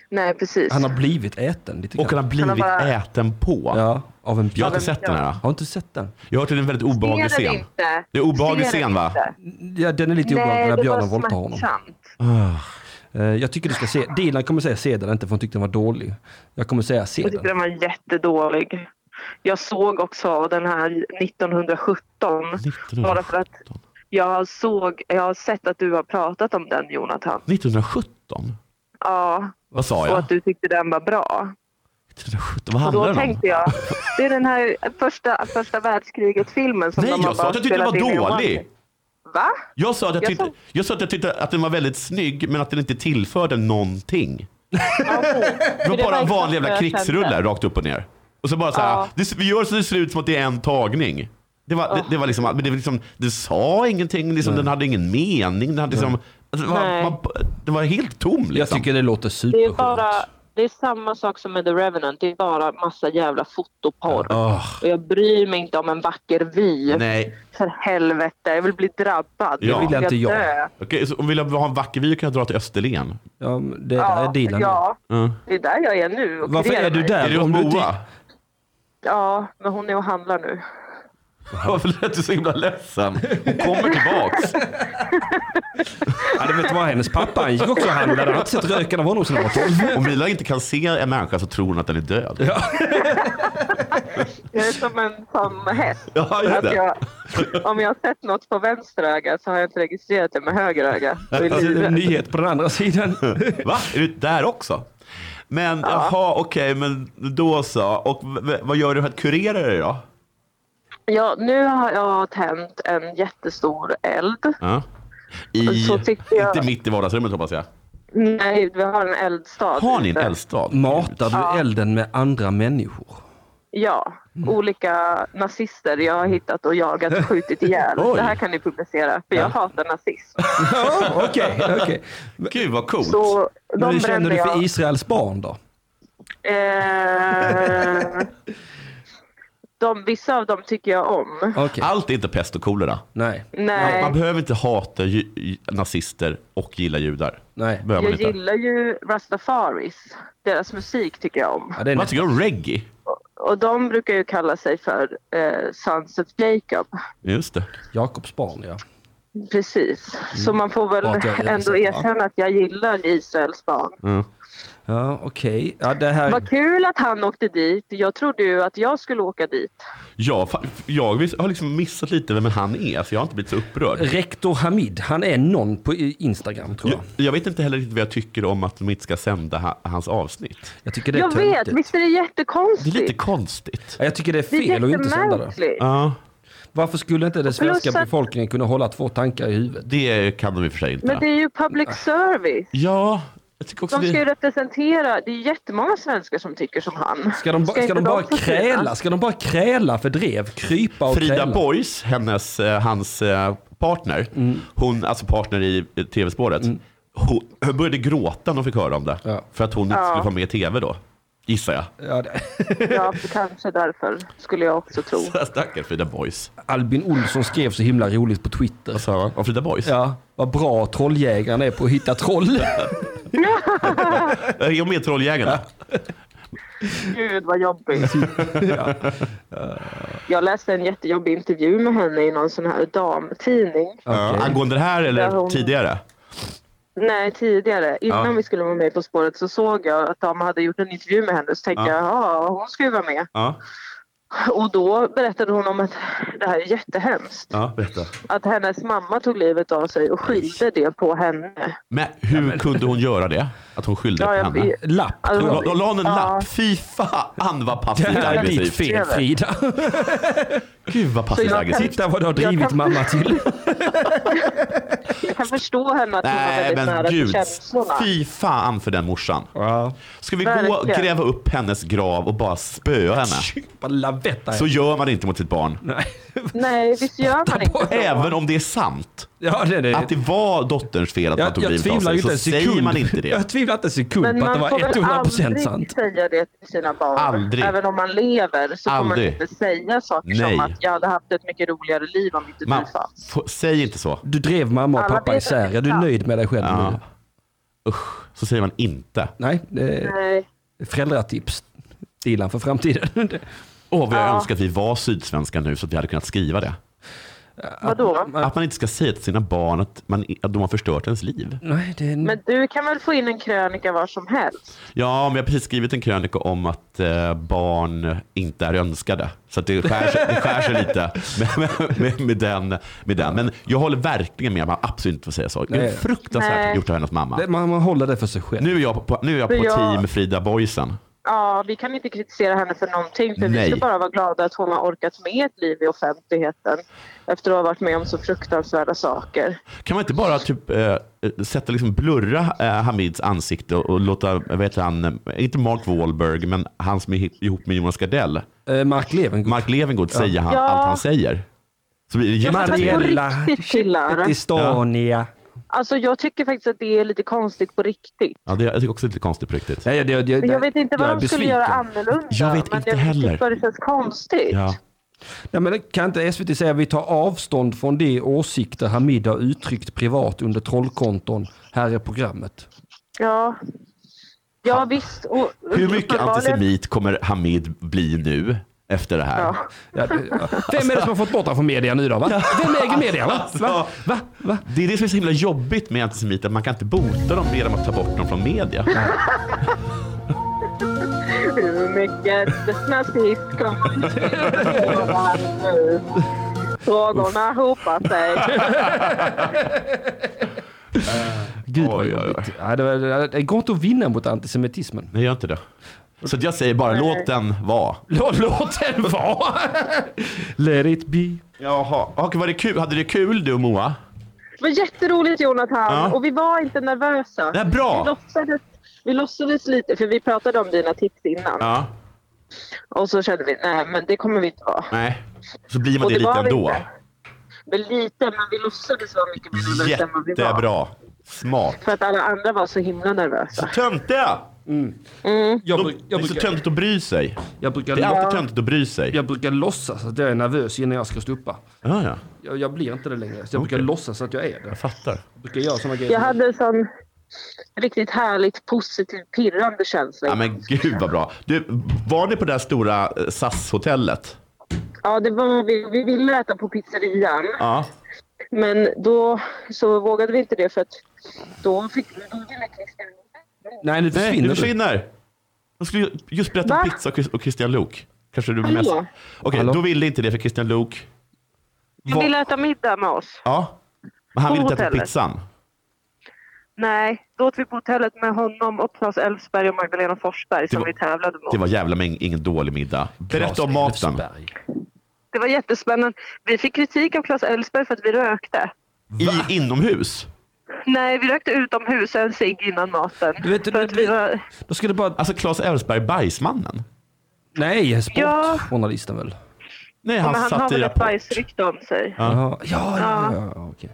S4: nej precis.
S1: Han har blivit äten lite
S2: Och han
S1: grann.
S2: har blivit
S4: Han har bara-
S2: äten på.
S1: Ja, av en
S2: Jag har
S1: björn.
S2: inte sett den här.
S1: Har inte sett den?
S2: Jag har hört att det är en väldigt obehaglig
S4: Ser
S2: scen.
S4: inte.
S2: Det är obehaglig
S4: Ser
S2: scen, va?
S4: inte.
S1: Ja, den är lite obehaglig
S4: Nej,
S1: när
S4: det
S1: björnen
S4: var
S1: våldtar honom.
S4: smärtsamt.
S2: Ah,
S1: Eh, Jag tycker du ska se, Dilan kommer säga se den inte för hon tyckte den var dålig. Jag kommer säga se
S4: Jag tyckte
S1: den.
S4: den var jättedålig. Jag såg också den här 1917.
S2: 1917.
S4: Bara för att jag, såg, jag har sett att du har pratat om den Jonathan.
S2: 1917?
S4: Ja,
S2: Vad sa
S4: och
S2: jag?
S4: att du tyckte den var bra.
S2: 1917? Vad
S4: Och då
S2: handlar den om?
S4: tänkte jag, det är den här första, första världskriget-filmen som
S2: Nej,
S4: de har
S2: jag sa
S4: bara
S2: att jag tyckte den
S4: spelat in i
S2: var
S4: Hollywood.
S2: dålig.
S4: Va?
S2: Jag sa att jag
S4: Jag
S2: tyckte,
S4: sa-
S2: jag sa att, jag tyckte att den var väldigt snygg, men att den inte tillförde någonting. Det var
S5: det var
S2: bara en
S5: exakt
S2: vanlig jävla
S5: vad jag
S2: krigsrulle
S5: kände.
S2: rakt upp och ner. Och så bara så här,
S4: Ja.
S2: det, vi gör så det ser ut som att det är en tagning. Det var, det, det var liksom, men det, var liksom, det sa ingenting, liksom, den hade ingen mening. Den hade liksom, alltså, det, var,
S5: Nej.
S2: man, det var helt tom
S1: Jag
S2: liksom.
S1: tycker det låter
S5: Det är
S1: superskönt.
S5: bara... Det är samma sak som med The Revenant. Det är bara massa jävla fotoporr.
S2: Åh,
S5: Och jag bryr mig inte om en vacker vy.
S2: nej.
S4: För helvete, jag vill bli drabbad.
S2: Ja.
S1: Det vill inte jag.
S4: dö.
S2: Okej, så om vi vill ha en vacker vy kan jag dra till Österlen.
S1: Ja, men det där är
S4: Ja,
S1: Dilan.
S4: ja,
S2: Mm.
S4: det är där jag är nu. och
S1: Varför
S4: kurerar
S1: är du
S4: mig.
S2: Är
S1: där?
S2: det hos
S1: Om du inte-
S2: Moa?
S4: Ja, men hon är och handlar nu.
S2: Varför lät du så himla ledsen? Hon kommer tillbaks.
S1: Ja, det vet vad hennes pappa han gick också och handlade. Han har inte sett röken av honom sedan han var tolv.
S2: Om Mila inte kan se en människa så tror hon att den är död. Ja,
S4: Jag är som en som häst.
S2: just
S4: Att
S2: det.
S4: jag, om jag har sett något på vänster öga så har jag inte registrerat det med höger öga. Och är
S1: Alltså, Det är en
S4: livrädd.
S1: nyhet på den andra sidan.
S2: Va? Är du där också? Men jaha, okej, men då så. Och v- v- vad gör du för att kurera dig då?
S4: Ja, nu har jag tänt en jättestor eld.
S2: Ja. I,
S4: Så tyckte jag-
S2: Inte mitt i vardagsrummet hoppas jag.
S4: Nej, vi har en eldstad.
S2: Har ni en
S4: ute.
S2: eldstad?
S4: Mm.
S1: Matar du
S4: Ja.
S1: elden med andra människor?
S4: Ja,
S1: Mm.
S4: olika nazister jag har hittat och jagat och skjutit ihjäl.
S2: Oj.
S4: Det här kan ni publicera, för jag hatar nazism.
S1: Ja, Okej, okej.
S2: Gud vad coolt.
S4: Så de
S1: Men hur känner
S4: brände
S1: du
S4: jag.
S1: för Israels barn då?
S4: Eh, de, vissa av dem tycker jag om.
S1: Okej,
S2: Allt är inte pest och kolera.
S1: nej,
S4: Nej,
S2: Man behöver inte hata ju, ju- nazister och gilla judar.
S1: nej.
S2: Behöver man
S4: jag
S2: inte.
S4: gillar ju Rastafaris. Deras musik tycker jag om.
S1: Ja, det är
S2: Vad tycker du om reggae?
S4: Och de brukar ju kalla sig för eh, Sons of Jacob.
S2: Just det.
S1: Jakobs barn ja.
S4: Precis. Så
S1: Mm.
S4: man får väl
S1: Ja, det är
S4: ändå
S1: sant, ja.
S4: erkänna att jag gillar Israels barn.
S1: Ja, okej. Ja, det här...
S4: Vad kul att han åkte dit. Jag trodde ju att jag skulle åka dit.
S2: Jag, fa- jag vis- har liksom missat lite vem han är, så jag har inte blivit så upprörd.
S1: Rektor Hamid, han är någon på i- Instagram tror
S2: Jag,
S1: jag.
S2: jag vet inte heller riktigt vad jag tycker om att de inte ska sända ha, hans avsnitt.
S1: Jag tycker det är
S4: jag vet,
S1: töntigt.
S4: visst är det
S2: Det är
S4: jättekonstigt?
S2: lite konstigt.
S1: Ja, Jag tycker det är
S4: Det är
S1: fel att inte sända det.
S4: jättemärkligt.
S2: Ja.
S1: Varför skulle inte den svenska
S3: Plus att-
S1: befolkningen kunna hålla två tankar i huvudet?
S2: Det kan de i och för sig inte.
S4: Men det är ju public service.
S2: Ja, jag tycker också
S4: De ska ju
S2: det.
S4: representera, det är jättemånga svenskar som tycker som han.
S1: Ska de, ba, ska
S4: inte
S1: de bara
S4: få synas?
S1: kräla? Ska de bara kräla för drev? Krypa och
S2: Frida
S1: kräla?
S2: Boys, hennes, eh, hans eh, partner, hon, alltså partner i eh, tv-spåret, hon, hon började gråta när hon fick höra om det.
S1: Ja.
S2: För att hon inte
S4: Ja.
S2: skulle vara med i tv då, gissar jag.
S1: Ja, det,
S4: Ja, kanske därför skulle jag också tro.
S2: Så Stackars Frida Boys.
S1: Albin Olsson skrev så himla roligt på Twitter.
S2: Vad sa han? Om Frida Boys?
S1: Ja, vad bra trolljägaren är på att hitta troll.
S2: Är hon med i Trolljägarna?
S4: Gud vad jobbigt. Jag läste en jättejobbig intervju med henne i någon sån här damtidning.
S2: Ja,
S1: Okej.
S2: Angående det här eller
S4: Där hon-
S2: tidigare?
S4: Nej, tidigare. Innan
S2: Ja.
S4: vi skulle vara med På spåret så såg jag att de hade gjort en intervju med henne. Så tänkte
S2: Ja.
S4: jag, ja, hon ska ju vara med.
S2: Ja,
S4: Och då berättade hon om att det här är jättehemskt.
S2: ja berätta.
S4: Att hennes mamma tog livet av sig och skyllde det på henne.
S2: Men hur kunde hon göra det? Att hon skyllde
S4: Ja,
S2: på
S4: jag
S2: henne?
S4: vet.
S1: Lapp.
S4: Alltså,
S2: Då- Då la hon en
S4: Ja.
S2: lapp. Fy fan vad
S1: Det
S2: passivt
S1: här är ditt
S2: aggressivt.
S1: fel Frida.
S2: Gud vad passivt
S4: jag kan-
S2: aggressivt.
S1: Titta vad du har drivit
S4: kan-
S1: mamma till.
S4: Jag kan förstå henne att hon var
S2: Nej
S4: väldigt nära
S2: men
S4: till
S2: gud.
S4: känslorna.
S2: Fy fan för den morsan.
S1: Ja.
S2: Ska vi gå och
S4: Verkligen.
S2: gräva upp hennes grav och bara spöa henne?
S1: Bara lavetta.
S2: Så gör man inte mot sitt barn.
S1: Nej.
S4: Nej, visst gör man inte så?
S2: Även om det är sant
S1: Ja, det, det.
S2: att det var dotterns fel att man
S1: Jag,
S2: tog
S1: jag
S2: livet av
S1: tvivlar ju
S2: sig
S1: inte en
S2: så säger
S1: sekund.
S2: man inte det.
S1: Jag tvivlar inte en sekund
S4: Men
S1: på att det
S4: man
S1: var
S4: får väl
S1: 100%
S4: aldrig
S1: sant.
S4: säga det till sina barn.
S2: Aldrig.
S4: Även om man lever så får
S2: Aldrig.
S4: man inte säga saker
S2: Nej.
S4: som att jag hade haft ett mycket roligare liv om inte
S2: Man,
S4: du fanns.
S2: f- säg inte så.
S1: Du drev mamma och
S4: Alla
S1: pappa
S4: vet
S1: isär.
S4: att
S1: Ja,
S4: det är
S1: du är
S4: sant.
S1: nöjd med dig själv nu.
S2: Ja. Usch, så säger man inte.
S1: Nej, det är
S4: Nej.
S1: föräldratips. Dilan för framtiden.
S2: Åh, vad jag
S4: Ja.
S2: önskar att vi var sydsvenska nu så att vi hade kunnat skriva det.
S4: Vadå?
S1: Ja.
S2: Att man inte ska säga till sina barn att, man, att de har förstört ens liv.
S1: Nej, det är...
S4: Men du kan väl få in en krönika var som helst?
S2: Ja, men jag har precis skrivit en krönika om att eh, barn inte är önskade. Så att det, skär sig, det skär sig lite med, med, med, med, den, med den. Men jag håller verkligen med om att man absolut inte får säga så. Det är
S1: Nej.
S2: fruktansvärt
S4: Nej.
S2: gjort av hennes
S1: det,
S2: mamma.
S1: man, man håller det för sig själv.
S2: Nu är jag på, nu är jag
S4: Men
S2: på
S4: jag-
S2: team Frida Boysen.
S4: Ja, vi kan inte kritisera henne för någonting för
S2: Nej.
S4: vi ska bara vara glada att hon har orkat med ett liv i offentligheten efter att ha varit med om så fruktansvärda saker.
S2: Kan man inte bara typ, eh, sätta, liksom, blurra eh, Hamids ansikte och, och låta, vad heter han, eh, inte Mark Wahlberg, men han som är hi- ihop med Jonas Gardell,
S1: Eh, Mark Levengood.
S2: Mark Levengood, säga han,
S4: Ja.
S2: allt han säger. Så blir det
S4: fast på
S2: jättetrevligt.
S4: riktigt, killar.
S1: Estonia.
S4: Alltså jag tycker faktiskt att det är lite konstigt på riktigt.
S2: Ja, det, jag tycker också det är lite konstigt på riktigt.
S1: Nej, jag, jag, jag,
S4: Men jag vet inte vad
S1: jag är
S4: de skulle
S1: besviken.
S4: göra annorlunda.
S2: Jag vet
S4: men
S2: inte
S4: jag
S2: heller.
S4: tycker bara det känns konstigt.
S2: Ja.
S1: Nej, men kan inte SVT säga att vi tar avstånd från de åsikter Hamid har uttryckt privat under trollkonton? Här är programmet.
S4: Ja, ja visst. Och,
S2: Hur mycket
S4: uppenbarligen-
S2: antisemit kommer Hamid bli nu efter det här?
S4: Ja.
S1: Ja, det- ja. Vem är det som har fått bort honom från media nu då? Va? Vem äger media? Va?
S2: Alltså.
S1: Va? Va? Va?
S2: Det är det som är så himla jobbigt med antisemiter, att man kan inte bota dem genom att ta bort dem från media.
S4: Hur mycket nazism kommer det finnas nu? Frågorna hopar sig.
S1: Gud vad
S2: Oj, oj, oj.
S1: jobbigt. Ja, det, var- det går inte att vinna mot antisemitismen.
S2: Nej, gör inte det. Så att jag säger bara, låt den vara.
S1: Låt, låt den vara! Let it be.
S2: Jaha, och var det kul? hade det kul du och Moa?
S4: Det var jätteroligt Jonathan
S2: Ja.
S4: och vi var inte nervösa.
S2: Nej, bra.
S4: Vi låtsades, vi låtsades lite, för vi pratade om dina tips innan.
S2: Ja.
S4: Och så kände vi, nej men det kommer vi inte vara.
S2: Nej. Så blir man
S4: Och
S2: det,
S4: det
S2: lite
S4: var vi
S2: ändå.
S4: inte. Men lite, men vi låtsades vara mycket mer nervösa än vad vi var.
S2: Jättebra. Smart.
S4: För att alla andra var så himla nervösa.
S2: Så töntiga!
S1: Jag,
S2: De,
S1: bruk-
S2: det
S1: jag,
S2: är så
S1: brukar,
S2: töntigt att bry sig.
S1: jag, brukar,
S2: Det är
S1: jag,
S2: alltid töntigt att bry sig.
S1: brukar låtsas att jag är nervös innan jag ska stå uppa.
S2: Ja, ja.
S1: Jag, jag blir inte det längre. Så jag brukar
S2: Okej.
S1: låtsas att jag är det.
S2: Jag fattar.
S1: Jag brukar göra sådana grejer.
S4: Jag hade en sån riktigt härligt positiv pirrande känsla.
S2: Ja,
S4: Ja,
S2: men gud vad bra. Du, var ni på det här stora eh, SAS-hotellet?
S4: det var, vi, vi ville äta på pizzerian
S2: Ja.
S4: men då så vågade vi inte det för att då fick vi då ville Christian
S1: Nej, nu
S2: Nej,
S1: försvinner
S2: du
S1: du.
S2: försvinner. Jag skulle ju just berätta om
S4: Va?
S2: pizza och Chris- och Christian Luuk. Kanske du
S4: Hallå?
S2: mest... Okej,
S1: Hallå?
S2: då ville inte det för Christian Luuk.
S4: Du ville äta middag med oss.
S2: Ja. Men han
S4: På
S2: ville inte äta
S4: hotellet.
S2: pizzan.
S4: Nej, då åt vi på hotellet med honom och Claes Elfsberg och Magdalena Forsberg som
S2: Det var-
S4: vi tävlade mot.
S2: Det
S4: Det var,
S2: var jävla mäng, ingen dålig middag. Berätta om maten.
S1: Elfsberg.
S4: Det var jättespännande. Vi fick kritik av Claes Elfsberg för att vi rökte.
S2: I, inomhus?
S4: Nej, vi rökte utomhus en cigg innan maten.
S1: Du vet,
S4: för att
S1: du-
S4: vi var...
S1: Då skulle det bara...
S2: Alltså Claes Elfsberg, bajsmannen?
S1: Nej,
S4: Ja.
S1: sportjournalisten väl?
S2: Nej,
S4: Ja,
S2: han
S4: men han har
S2: satt i
S4: väl ett
S2: Rapport.
S4: bajsrykte om sig.
S2: Ja.
S1: Jaha. Ja, ja, ja, ja, okej.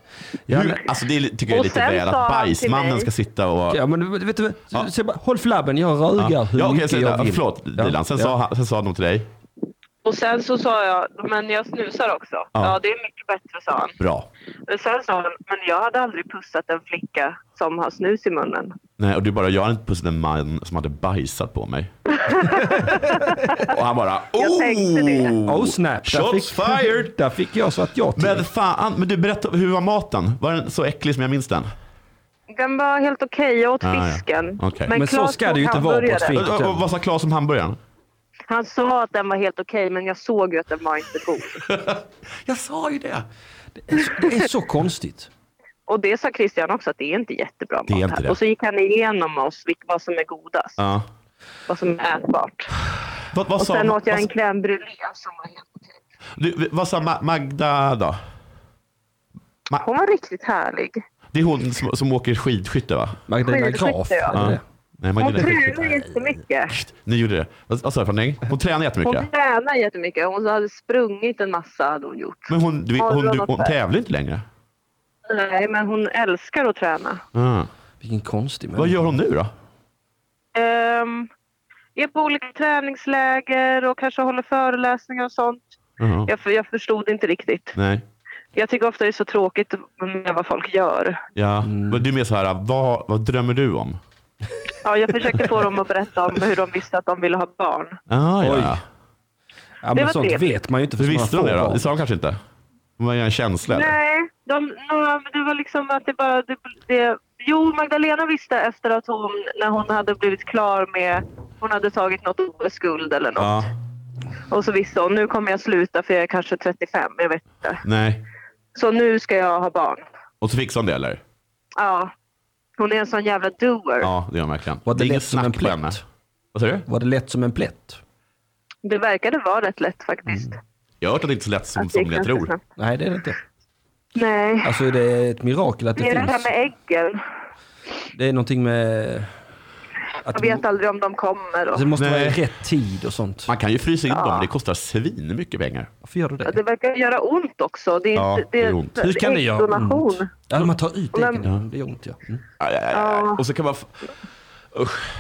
S1: Ja, men,
S2: Hur, alltså det tycker jag är
S4: Och
S2: lite
S4: sen
S2: väl
S4: sa
S2: att
S4: han till
S2: bajsmannen
S4: mig-
S2: ska sitta och...
S1: ja, men vet du,
S2: Ja.
S1: så, bara, håll flabben, jag rögar hur
S2: Ja, okej,
S1: mycket
S2: sen,
S1: jag vill.
S2: förlåt Dilan. Sen, sa han, sen sa de till dig,
S4: Och sen så sa jag, men jag snusar också. Ja, det är mycket bättre, sa han.
S2: bra.
S4: Och sen sa han, men jag hade aldrig pussat en flicka som har snus i munnen.
S2: Nej, och du bara, jag har inte pussat en man som hade bajsat på mig. och han bara,
S4: Jag tänkte det.
S2: oh!
S1: Oh snap, där
S2: Shots
S1: fick,
S2: fired!
S1: där fick jag så att jag till.
S2: Men fan, men du berätta, hur var maten? Var den så äcklig som jag minns den?
S4: Den var helt okej, jag åt
S2: Ah, ja.
S4: fisken.
S2: Okej.
S1: Men så
S4: Claes
S1: ska det ju
S4: tog
S1: inte vara på ett
S4: hamburgare.
S1: fik.
S2: Och, och, vad sa Claes om hamburgaren?
S4: Han sa att den var helt okej, men jag såg ju att den var inte god.
S2: Jag sa ju det!
S1: Det är så- Det är så konstigt.
S4: Och det sa Christian också, att det är inte jättebra mat
S2: Det är inte
S4: här.
S2: det.
S4: Och så gick han igenom oss, vilk- vad som är godast,
S2: Ja.
S4: vad som är ätbart.
S2: Vad, vad,
S4: Och
S2: sa,
S4: sen åt jag en
S2: vad,
S1: alltså-
S4: crème brûlée som var helt okej.
S2: du, vad sa Ma- Magda då?
S4: Hon var riktigt härlig.
S2: Det är hon som, som åker skidskytte va?
S1: Magdalena
S4: Skidskytte,
S1: Graf.
S4: ja.
S1: hade det.
S2: Nej,
S4: Hon
S2: Magdalena
S4: tränar
S2: skidskytte.
S4: jättemycket.
S2: Psst, Ni gjorde det. Vad vad sa jag för någonting? Hon tränar jättemycket.
S4: Hon tränar jättemycket. Hon hade sprungit en massa hade hon gjort.
S2: Men hon, du, hon, du, hon
S4: Ja.
S2: tävlar inte längre.
S4: Nej, men hon älskar att träna.
S2: Ah.
S1: Vilken konstig
S2: Vad
S1: människa.
S2: gör hon nu då?
S4: Ehm, är på olika träningsläger och kanske håller föreläsningar och sånt.
S2: Ja.
S4: Jag, jag förstod inte riktigt.
S2: Nej.
S4: Jag tycker ofta det är så tråkigt med vad folk gör.
S2: Ja. Men Du är mer så här, vad, vad drömmer du om?
S4: Ja, jag försökte få dem att berätta om hur de visste att de ville ha barn.
S2: Ah,
S1: Oj.
S2: ja.
S1: Ja,
S4: Det
S1: men
S4: var
S1: sånt
S4: trevligt.
S1: vet man ju inte.
S2: Hur
S1: förrän
S2: visste
S1: man
S2: de
S1: får
S2: det då?
S1: barn.
S2: Det sa de kanske inte? Det var ju en känsla. eller?
S4: Nej, de, no, men det var liksom att det bara... Det, det, jo, Magdalena visste efter att hon, när hon hade blivit klar med... Hon hade tagit något OS-guld eller något.
S2: Ja.
S4: Och så visste hon, nu kommer jag sluta för jag är kanske 35, jag vet inte.
S2: Nej.
S4: Så nu ska jag ha barn.
S2: Och så fixade hon det eller?
S4: Ja. Hon är en sån jävla doer.
S2: Ja, det gör man verkligen.
S1: Var det
S2: är
S1: lätt
S2: inget
S1: som en
S2: snack på
S1: plätt?
S2: henne. Vad säger du?
S1: Var det lätt som en plätt?
S4: Det verkade vara rätt lätt faktiskt.
S1: Mm.
S2: Jag har hört att det inte är så lätt som
S4: Att det gick
S2: somliga
S4: ganska
S2: tror.
S4: snabbt.
S1: Nej, det är det inte.
S4: Nej.
S1: Alltså det är ett mirakel att det
S4: Det är det här
S1: finns.
S4: med äggen.
S1: Det är någonting med... Att
S4: Jag vet aldrig om de kommer. Och...
S1: Alltså, det måste vara i
S2: Nej.
S1: rätt tid och sånt.
S2: Man kan ju frysa in
S4: Ja.
S2: dem, det kostar svin mycket pengar.
S1: Varför gör du
S4: Ja,
S1: det?
S4: Det verkar göra ont också. Det är
S2: Ja,
S4: inte,
S2: det gör ont.
S1: Hur kan det göra ont? Mm.
S4: äggdonation.
S1: Ja, man tar ut
S4: Men-
S1: äggen. Ja, Det gör ont, ja. Mm.
S2: Aj, aj, aj.
S4: Ja.
S2: Och så kan man... f-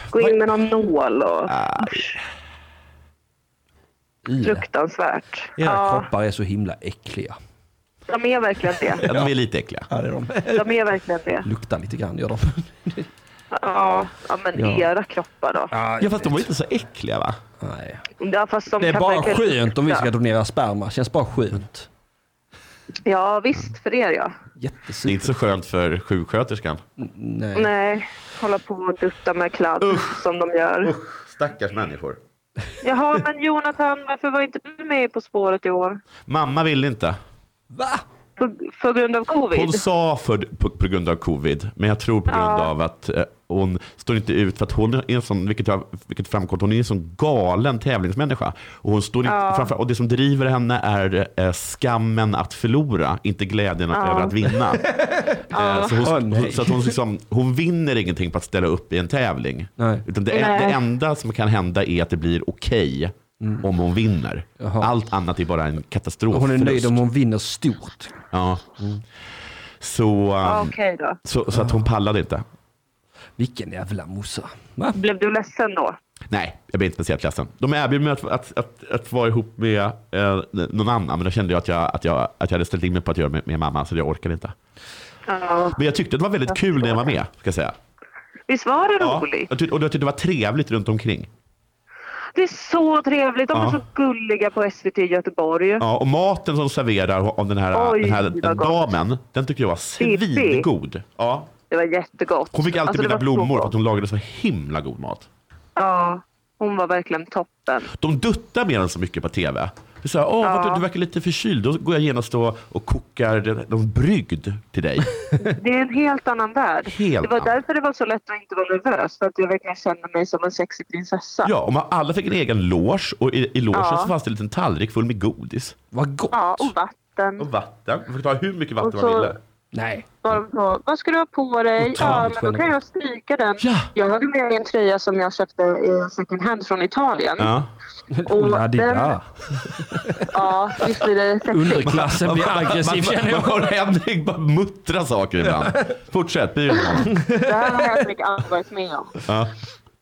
S4: Gå in med någon nål och
S1: Ah, Ira.
S4: fruktansvärt.
S1: Era
S4: Ja,
S1: kroppar är så himla äckliga.
S4: de är verkligen det.
S2: Ja, de är lite äckliga.
S1: Ja, det är de.
S4: De är verkligen det.
S1: Luktar lite grann, gör de.
S4: Ja, ja men
S1: Ja.
S4: era kroppar då.
S2: Ja, fast de var inte så äckliga va?
S1: Nej.
S4: Ja, fast de
S1: Det är
S4: kan
S1: bara
S4: verkligen
S1: skönt om vi ska
S4: lukta.
S1: donera sperma. Känns bara skönt.
S4: Ja, visst för er ja.
S2: Det är
S1: Jättesurt.
S2: inte så skönt för sjuksköterskan.
S1: Nej.
S4: Nej, hålla på och dutta med kladd som de gör.
S2: Stackars människor.
S4: Jaha, men Jonathan, varför var inte du med På spåret i år?
S2: Mamma ville inte.
S1: Va?
S4: På, för grund av
S2: Hon
S4: covid?
S2: sa för, på, på grund av covid, men jag tror på grund
S4: Ja.
S2: av att eh, hon står inte ut för att hon är en sån, vilket, jag, vilket framkom, hon är en sån galen tävlingsmänniska. Och, hon står inte, framför, och det som driver henne är eh, skammen att förlora, inte glädjen att, över att vinna. Eh, så
S1: Åh,
S2: hon,
S1: nej.
S2: så att hon, liksom, hon vinner ingenting på att ställa upp i en tävling.
S1: Nej.
S2: Utan det, en-
S4: Nej.
S2: det enda som kan hända är att det blir okej om hon vinner.
S1: Mm. Jaha.
S2: Allt annat är bara en katastrof.
S1: Hon är nöjd om hon vinner stort.
S2: Ja. Så,
S4: Ja,
S2: ehm,
S4: Okej då.
S2: så, så att
S4: Ah.
S2: hon pallade inte.
S1: Vilken jävla mossa. Va?
S4: Blev du ledsen då?
S2: Nej, jag blev inte speciellt ledsen. De erbjöd mig att, att, att, att vara ihop med eh, någon annan, men då kände jag att jag, att jag, att jag hade ställt in mig på att göra med, med mamma, så jag orkade inte.
S4: Ja.
S2: Men jag tyckte det var väldigt kul när jag var med, ska jag säga.
S4: Visst var det
S2: Ja,
S4: roligt?
S2: jag tyckte, och jag tyckte det var trevligt runt omkring.
S4: Det är så trevligt. De är
S2: Ja.
S4: så gulliga på SVT i Göteborg.
S2: Ja, och maten som serverar av den här,
S4: Oj,
S2: den här
S4: vad gott.
S2: damen, den tyckte jag var
S4: Pippi.
S2: svingod. Ja.
S4: Det var jättegott.
S2: Hon fick alltid
S4: Alltså, det
S2: mina
S4: var så
S2: blommor
S4: gott.
S2: för att hon lagade så himla god mat.
S4: Ja, hon var verkligen toppen.
S2: De duttar med den så mycket på tv. Det är Så här, Åh,
S4: Ja.
S2: vad du, du verkar lite förkyld. Då går jag genast och, och kokar den- någon brygd till dig.
S4: Det är en helt annan värld.
S2: Helt
S4: det var
S2: annan.
S4: därför det var så lätt att inte vara nervös. För att jag verkligen känner mig som en sexig prinsessa.
S2: Ja, och man, alla fick en egen loge och i, i logen
S4: Ja.
S2: så fanns det en liten tallrik full med godis.
S1: Vad gott.
S4: Ja, och vatten.
S2: Och vatten. Man fick ta hur mycket vatten
S4: Och så-
S2: man ville.
S1: Nej.
S4: Var de så, Vad ska du ha på dig? Ja,
S1: Otroligt
S4: men då kan jag stryka den.
S2: Ja.
S4: Jag hade med mig en tröja som jag köpte i second hand från Italien.
S2: Ja.
S4: Och
S1: Ulla
S4: den-
S1: Dida.
S4: Ja, visst blir det sexigt.
S1: Underklassen blir aggressiv
S2: man,
S1: känner
S2: man,
S1: jag.
S2: man hör Henrik bara muttra saker ibland. Fortsätt, bry dig om honom.
S4: Det här har Henrik aldrig varit med om.
S2: ja.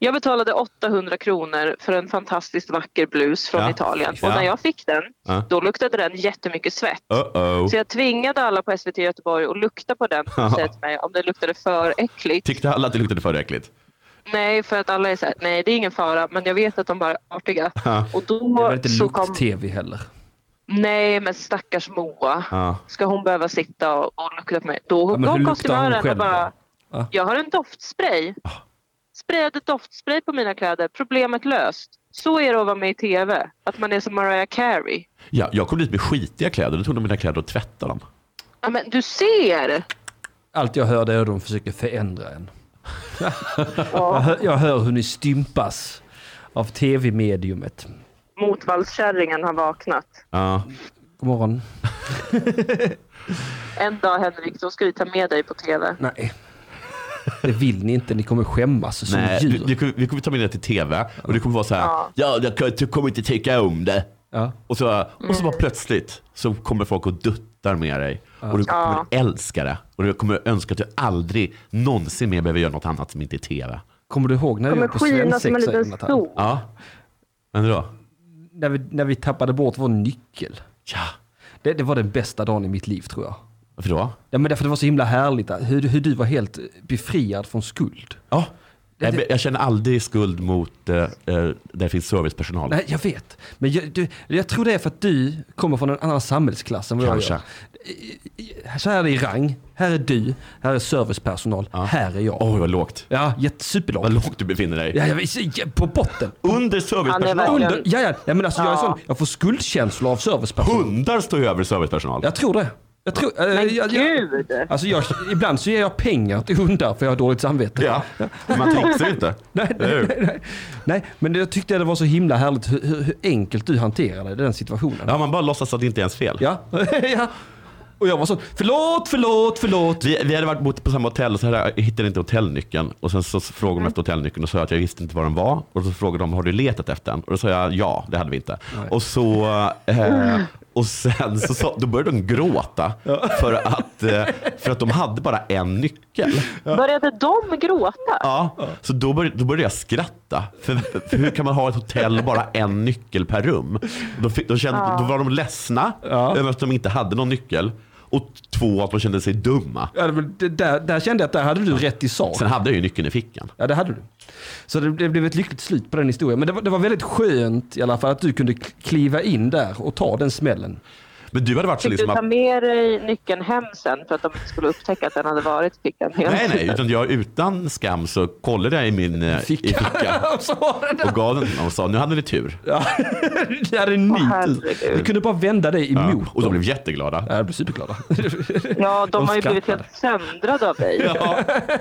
S4: Jag betalade 800 kronor för en fantastiskt vacker blus från
S2: Ja.
S4: Italien. Och
S2: Ja.
S4: när jag fick den,
S2: Ja. Oh.
S4: då luktade den jättemycket svett.
S2: Uh-oh.
S4: Så jag tvingade alla på SVT Göteborg att lukta på den och säga till mig om det luktade för äckligt.
S2: Tyckte alla att det luktade för äckligt?
S4: Nej, för att alla är så här, nej det är ingen fara, men jag vet att de bara är artiga.
S2: Ja.
S4: Och
S1: Det
S4: då
S1: var inte
S4: så kom,
S1: lukt-tv heller.
S4: nej men stackars Moa.
S2: Ja.
S4: Ska hon behöva sitta och, och lukta på mig? Då
S1: Ja, men hur
S4: kom
S1: luktar hon
S4: kostymören och
S1: själv då? Ah.
S4: bara,
S1: Ja.
S4: jag har en doftspray. Sprayade doftspray på mina kläder, problemet löst. Så är det att vara med i TV, att man är som Mariah Carey.
S2: Ja, jag kom dit med skitiga kläder. Då tog de mina kläder och tvättade dem.
S4: Ja, men du ser!
S1: Allt jag hörde är att de försöker förändra en. Jag
S4: Ja,
S1: hör, jag hör hur ni stympas av tv-mediumet.
S4: motvallskärringen har vaknat.
S2: Ja.
S1: God morgon.
S4: En dag Henrik, då ska vi ta med dig på TV.
S1: Nej. Det vill ni inte. Ni kommer skämmas som
S2: Nej, du,
S1: djur.
S2: du, kommer- vi kommer ta med det till tv och det kommer vara så här. Ja,
S4: Ja.
S2: jag, kan- jag kommer inte tycka om det.
S1: Ja.
S2: Och så, och så bara
S4: Mm.
S2: plötsligt så kommer folk och duttar med dig. Och du kommer
S4: Ja.
S2: älska det. Och du kommer önska att du aldrig någonsin mer behöver göra något annat som inte är tv.
S1: Kommer du ihåg när vi
S4: Kommer
S1: var på
S4: skina som en
S1: svensexa,
S4: liten
S1: Jonathan?
S4: sol.
S2: Ja. Men då?
S1: När vi, när vi tappade bort vår nyckel.
S2: Ja.
S1: Det, det var den bästa dagen i mitt liv tror jag.
S2: Varför då?
S1: Ja, men därför det var så himla härligt. Hur, hur du var helt befriad från skuld.
S2: Ja.
S1: Det-
S2: Jag, jag känner aldrig skuld mot eh, eh, där det finns servicepersonal.
S1: Nej, jag vet. Men jag, du, jag tror det är för att du kommer från en annan samhällsklass än vad jag
S2: Kanske.
S1: gör. I- i- Så här är det i rang. Här är du. Här är servicepersonal. Här är jag.
S2: Oj, vad lågt.
S1: Ja, jätte- superlågt.
S2: Vad lågt du befinner dig.
S1: Ja, jag vet, ja, på botten.
S2: Under
S4: Han är
S2: servicepersonal.
S4: verkligen-
S1: Under, ja, ja, ja, men alltså, jag, är
S4: Ja.
S1: sån, jag får skuldkänsla av servicepersonal.
S2: Hundar står ju över servicepersonal.
S1: Jag tror det. Jag tror, eh,
S4: Men
S1: jag, jag,
S4: gud!
S1: alltså jag, ibland så ger jag pengar till hundar för jag har dåligt samvete.
S2: Ja. Man trixar ju inte.
S1: Nej,
S2: Eller hur?
S1: nej, nej, nej, men jag tyckte det var så himla härligt hur, hur, hur enkelt du hanterade den situationen.
S2: Ja, man bara låtsas att det inte är ens fel.
S1: Ja. ja. Och jag var så, förlåt, förlåt, förlåt.
S2: Vi, vi hade varit bott på samma hotell och så hade jag hittade inte hotellnyckeln. Och sen så frågade
S1: Mm.
S2: de efter hotellnyckeln och sa att jag visste inte var den var. Och så frågade de, har du letat efter den? Och då sa jag, ja, det hade vi inte. Och så... Eh, och sen så, sa- då började de gråta för att, eh, för att de hade bara en nyckel.
S4: Började de gråta?
S2: Ja, så då började, då började jag skratta. För, för hur kan man ha ett hotell och bara en nyckel per rum? Då, fick, då, kände, då var de ledsna
S1: Ja.
S2: över att de inte hade någon nyckel. Och två, att de kände sig dumma.
S1: Ja, men det, där, där kände jag att där hade du rätt i sak.
S2: Sen hade jag ju nyckeln i fickan.
S1: Ja, det hade du. Så det, det blev ett lyckligt slut på den historien. Men det var, det var väldigt skönt i alla fall att du kunde k- kliva in där och ta den smällen.
S2: Men du hade varit så
S4: Fick Typ du
S2: liksom
S4: ta
S2: att,
S4: med dig nyckeln hem sen för att de inte skulle upptäcka att den hade varit i fickan?
S2: Nej, nej, utan jag utan skam så kollade jag i min eh,
S1: Ficka.
S2: I ficka
S1: Och så var det där.
S2: och gav den till någon och sa nu hade ni tur.
S1: Ja, det hade en
S4: Åh,
S1: ny tur.
S4: herregud.
S1: Du kunde bara vända dig emot.
S2: Ja, och de
S1: dem.
S2: blev jätteglada.
S1: Ja, jag blev superglada.
S4: Ja, de,
S1: De
S4: har ju blivit
S1: skrattade.
S4: helt söndrade av dig.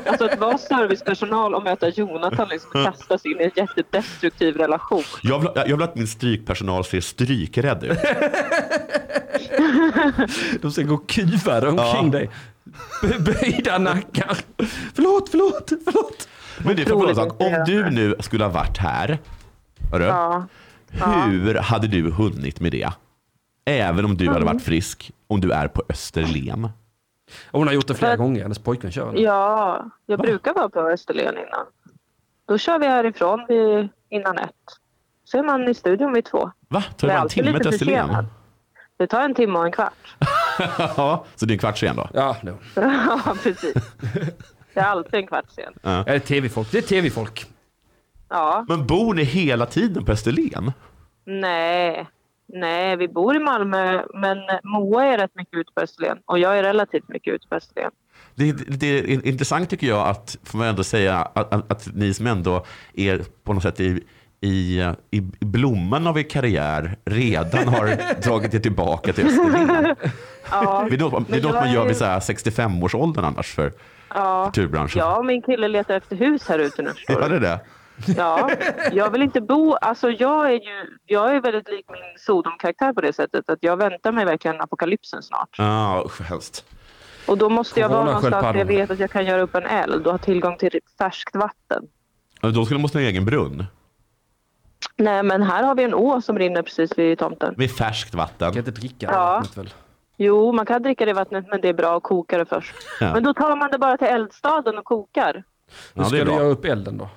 S4: Alltså att vara servicepersonal och möta Jonathan liksom kastas in i en jättedestruktiv relation.
S2: Jag vill, jag vill att min strykpersonal ser strykrädd ut.
S1: De ska gå kuvade omkring
S2: Ja.
S1: dig. B- Böjda nackar. Förlåt, förlåt, förlåt.
S2: Men det är för en
S4: Otroligt
S2: sak. Om du nu skulle ha varit här, hörru,
S4: Ja.
S2: hur hade du hunnit med det? Även om du hade
S4: Mm.
S2: varit frisk, om du är på Österlen.
S1: Och hon har gjort det flera
S4: Men-
S1: gånger. Hennes pojkvän kör henne.
S4: ja, jag brukar vara på Österlen innan. Då kör vi härifrån vid, innan ett. Så är man i studion vid två.
S2: Va? Tar det
S4: Men
S2: bara en
S4: alltid
S2: timme
S4: lite
S2: till Österlen?
S4: försenad. Det tar en timme och en kvart.
S2: Ja, så det är en kvart sen då?
S1: Ja, no.
S4: ja, precis. Det är alltid en kvart sen.
S1: ja, det är tv-folk. Det är tv-folk.
S4: Ja,
S2: Men bor ni hela tiden på Österlen?
S4: Nej. Nej, vi bor i Malmö, men Moa är rätt mycket ute på Österlen och jag är relativt mycket ute på Österlen.
S2: Det, det är intressant tycker jag att, får man ändå säga, att, att, att ni som ändå är på något sätt i, i, i blomman av er karriär redan har dragit er tillbaka till Österlen.
S4: Ja.
S2: Det är något, det är
S4: Men
S2: något
S4: jag
S2: man gör
S4: är-
S2: vid så här 65-årsåldern annars för
S4: Ja.
S2: kulturbranschen.
S4: Ja, min kille letar efter hus här ute nu. förstår du.
S2: Gör det det?
S4: Ja, jag vill inte bo... Alltså jag är ju jag är väldigt lik min Sodom-karaktär på det sättet att jag väntar mig verkligen apokalypsen snart.
S2: Ja, usch vad hemskt.
S4: Och då måste jag vara
S1: Corona,
S4: någonstans där jag
S1: sköldpaddor.
S4: vet att jag kan göra upp en eld och ha tillgång till färskt vatten.
S2: Ja, Då skulle måste ni ha egen brunn
S4: Nej, men här har vi en å som rinner precis vid tomten.
S2: med färskt
S1: Kan
S2: vatten.
S1: inte dricka
S4: Ja.
S1: vattnet väl?
S4: Jo, man kan dricka det vattnet, men det är bra att koka det först.
S2: Ja.
S4: Men då tar man det bara till eldstaden och kokar.
S1: Nu
S2: Ja,
S1: ska
S2: det är
S1: du
S2: bra.
S1: göra upp elden då.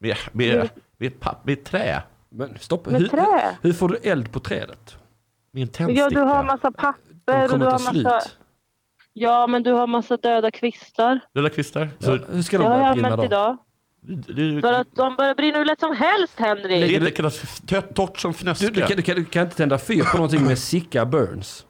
S2: Med,
S1: Mm.
S2: med, med, papp, med trä.
S1: Men stopp.
S4: Med
S1: hur,
S4: trä?
S1: hur får du eld på trädet?
S2: Med en
S4: Ja,
S2: tändsticka.
S4: du har massa
S1: De
S4: papper och du
S1: kommer ta
S4: har
S1: slut.
S4: massa... Ja, men du har massa döda kvistar.
S2: Röda kvistar.
S1: Ja,
S2: Så,
S1: hur ska
S4: Det
S1: de
S4: har jag
S1: börja brinna
S4: använt
S1: då?
S4: idag.
S2: du, du,
S4: För att de börjar brinna hur lätt som helst,
S2: det
S4: Henrik.
S2: är inte kallas tö- torrt som fnöske.
S1: Du, du, kan, du, kan, du kan inte tända fyr på någonting med Sicka Burns.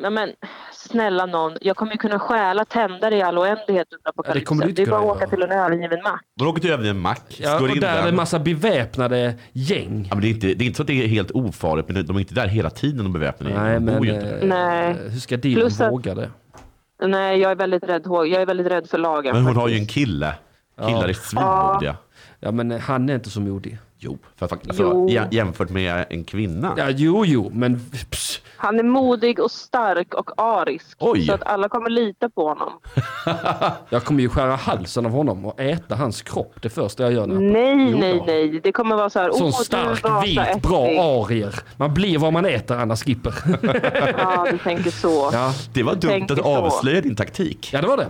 S4: Nej, men snälla någon. Jag kommer ju kunna stjäla tändare i all oändlighet under
S1: det kommer du
S4: apokalypsen.
S1: inte
S4: Det är bara
S1: kunna
S4: att åka
S1: göra.
S4: till en övergiven mack.
S2: Man åker till över en mack,
S1: Ja,
S2: slår
S1: och
S2: in
S1: där är det en
S2: den.
S1: massa beväpnade gäng.
S2: Ja, men det, är inte, det är inte så att det är helt ofarligt, men de är inte där hela tiden de beväpnade.
S1: Nej,
S2: de bor
S1: men
S2: ju inte.
S1: eh,
S4: Nej.
S1: hur ska Dylan
S4: Plus att-
S1: våga det?
S4: Nej, jag är väldigt rädd, hå- jag är väldigt rädd för lagen.
S2: Men hon har ju en
S4: faktiskt.
S2: kille. Killar
S1: Ah.
S2: är svinmodiga.
S1: Ja, men eh, han är inte så modig.
S2: Jo, för faktiskt, alltså,
S4: Jo.
S2: jä- jämfört med en kvinna.
S1: Ja, jo, jo, men pss,
S4: Han är modig och stark och arisk.
S2: Oj.
S4: Så att alla kommer lita på honom.
S1: jag kommer ju skära halsen av honom och äta hans kropp det första jag gör. När jag...
S4: Nej,
S1: Jo
S4: nej,
S1: då.
S4: nej. Det kommer vara så här.
S1: Sån
S4: "Åh, du
S1: stark,
S4: var så
S1: vit, bra
S4: äcklig."
S1: arier. Man blir vad man äter, Anna Skipper.
S4: Ja, du tänker så. Ja,
S1: ja.
S2: Det var dumt
S4: tänker
S2: att
S4: så.
S2: avslöja din taktik.
S1: ja, det var det.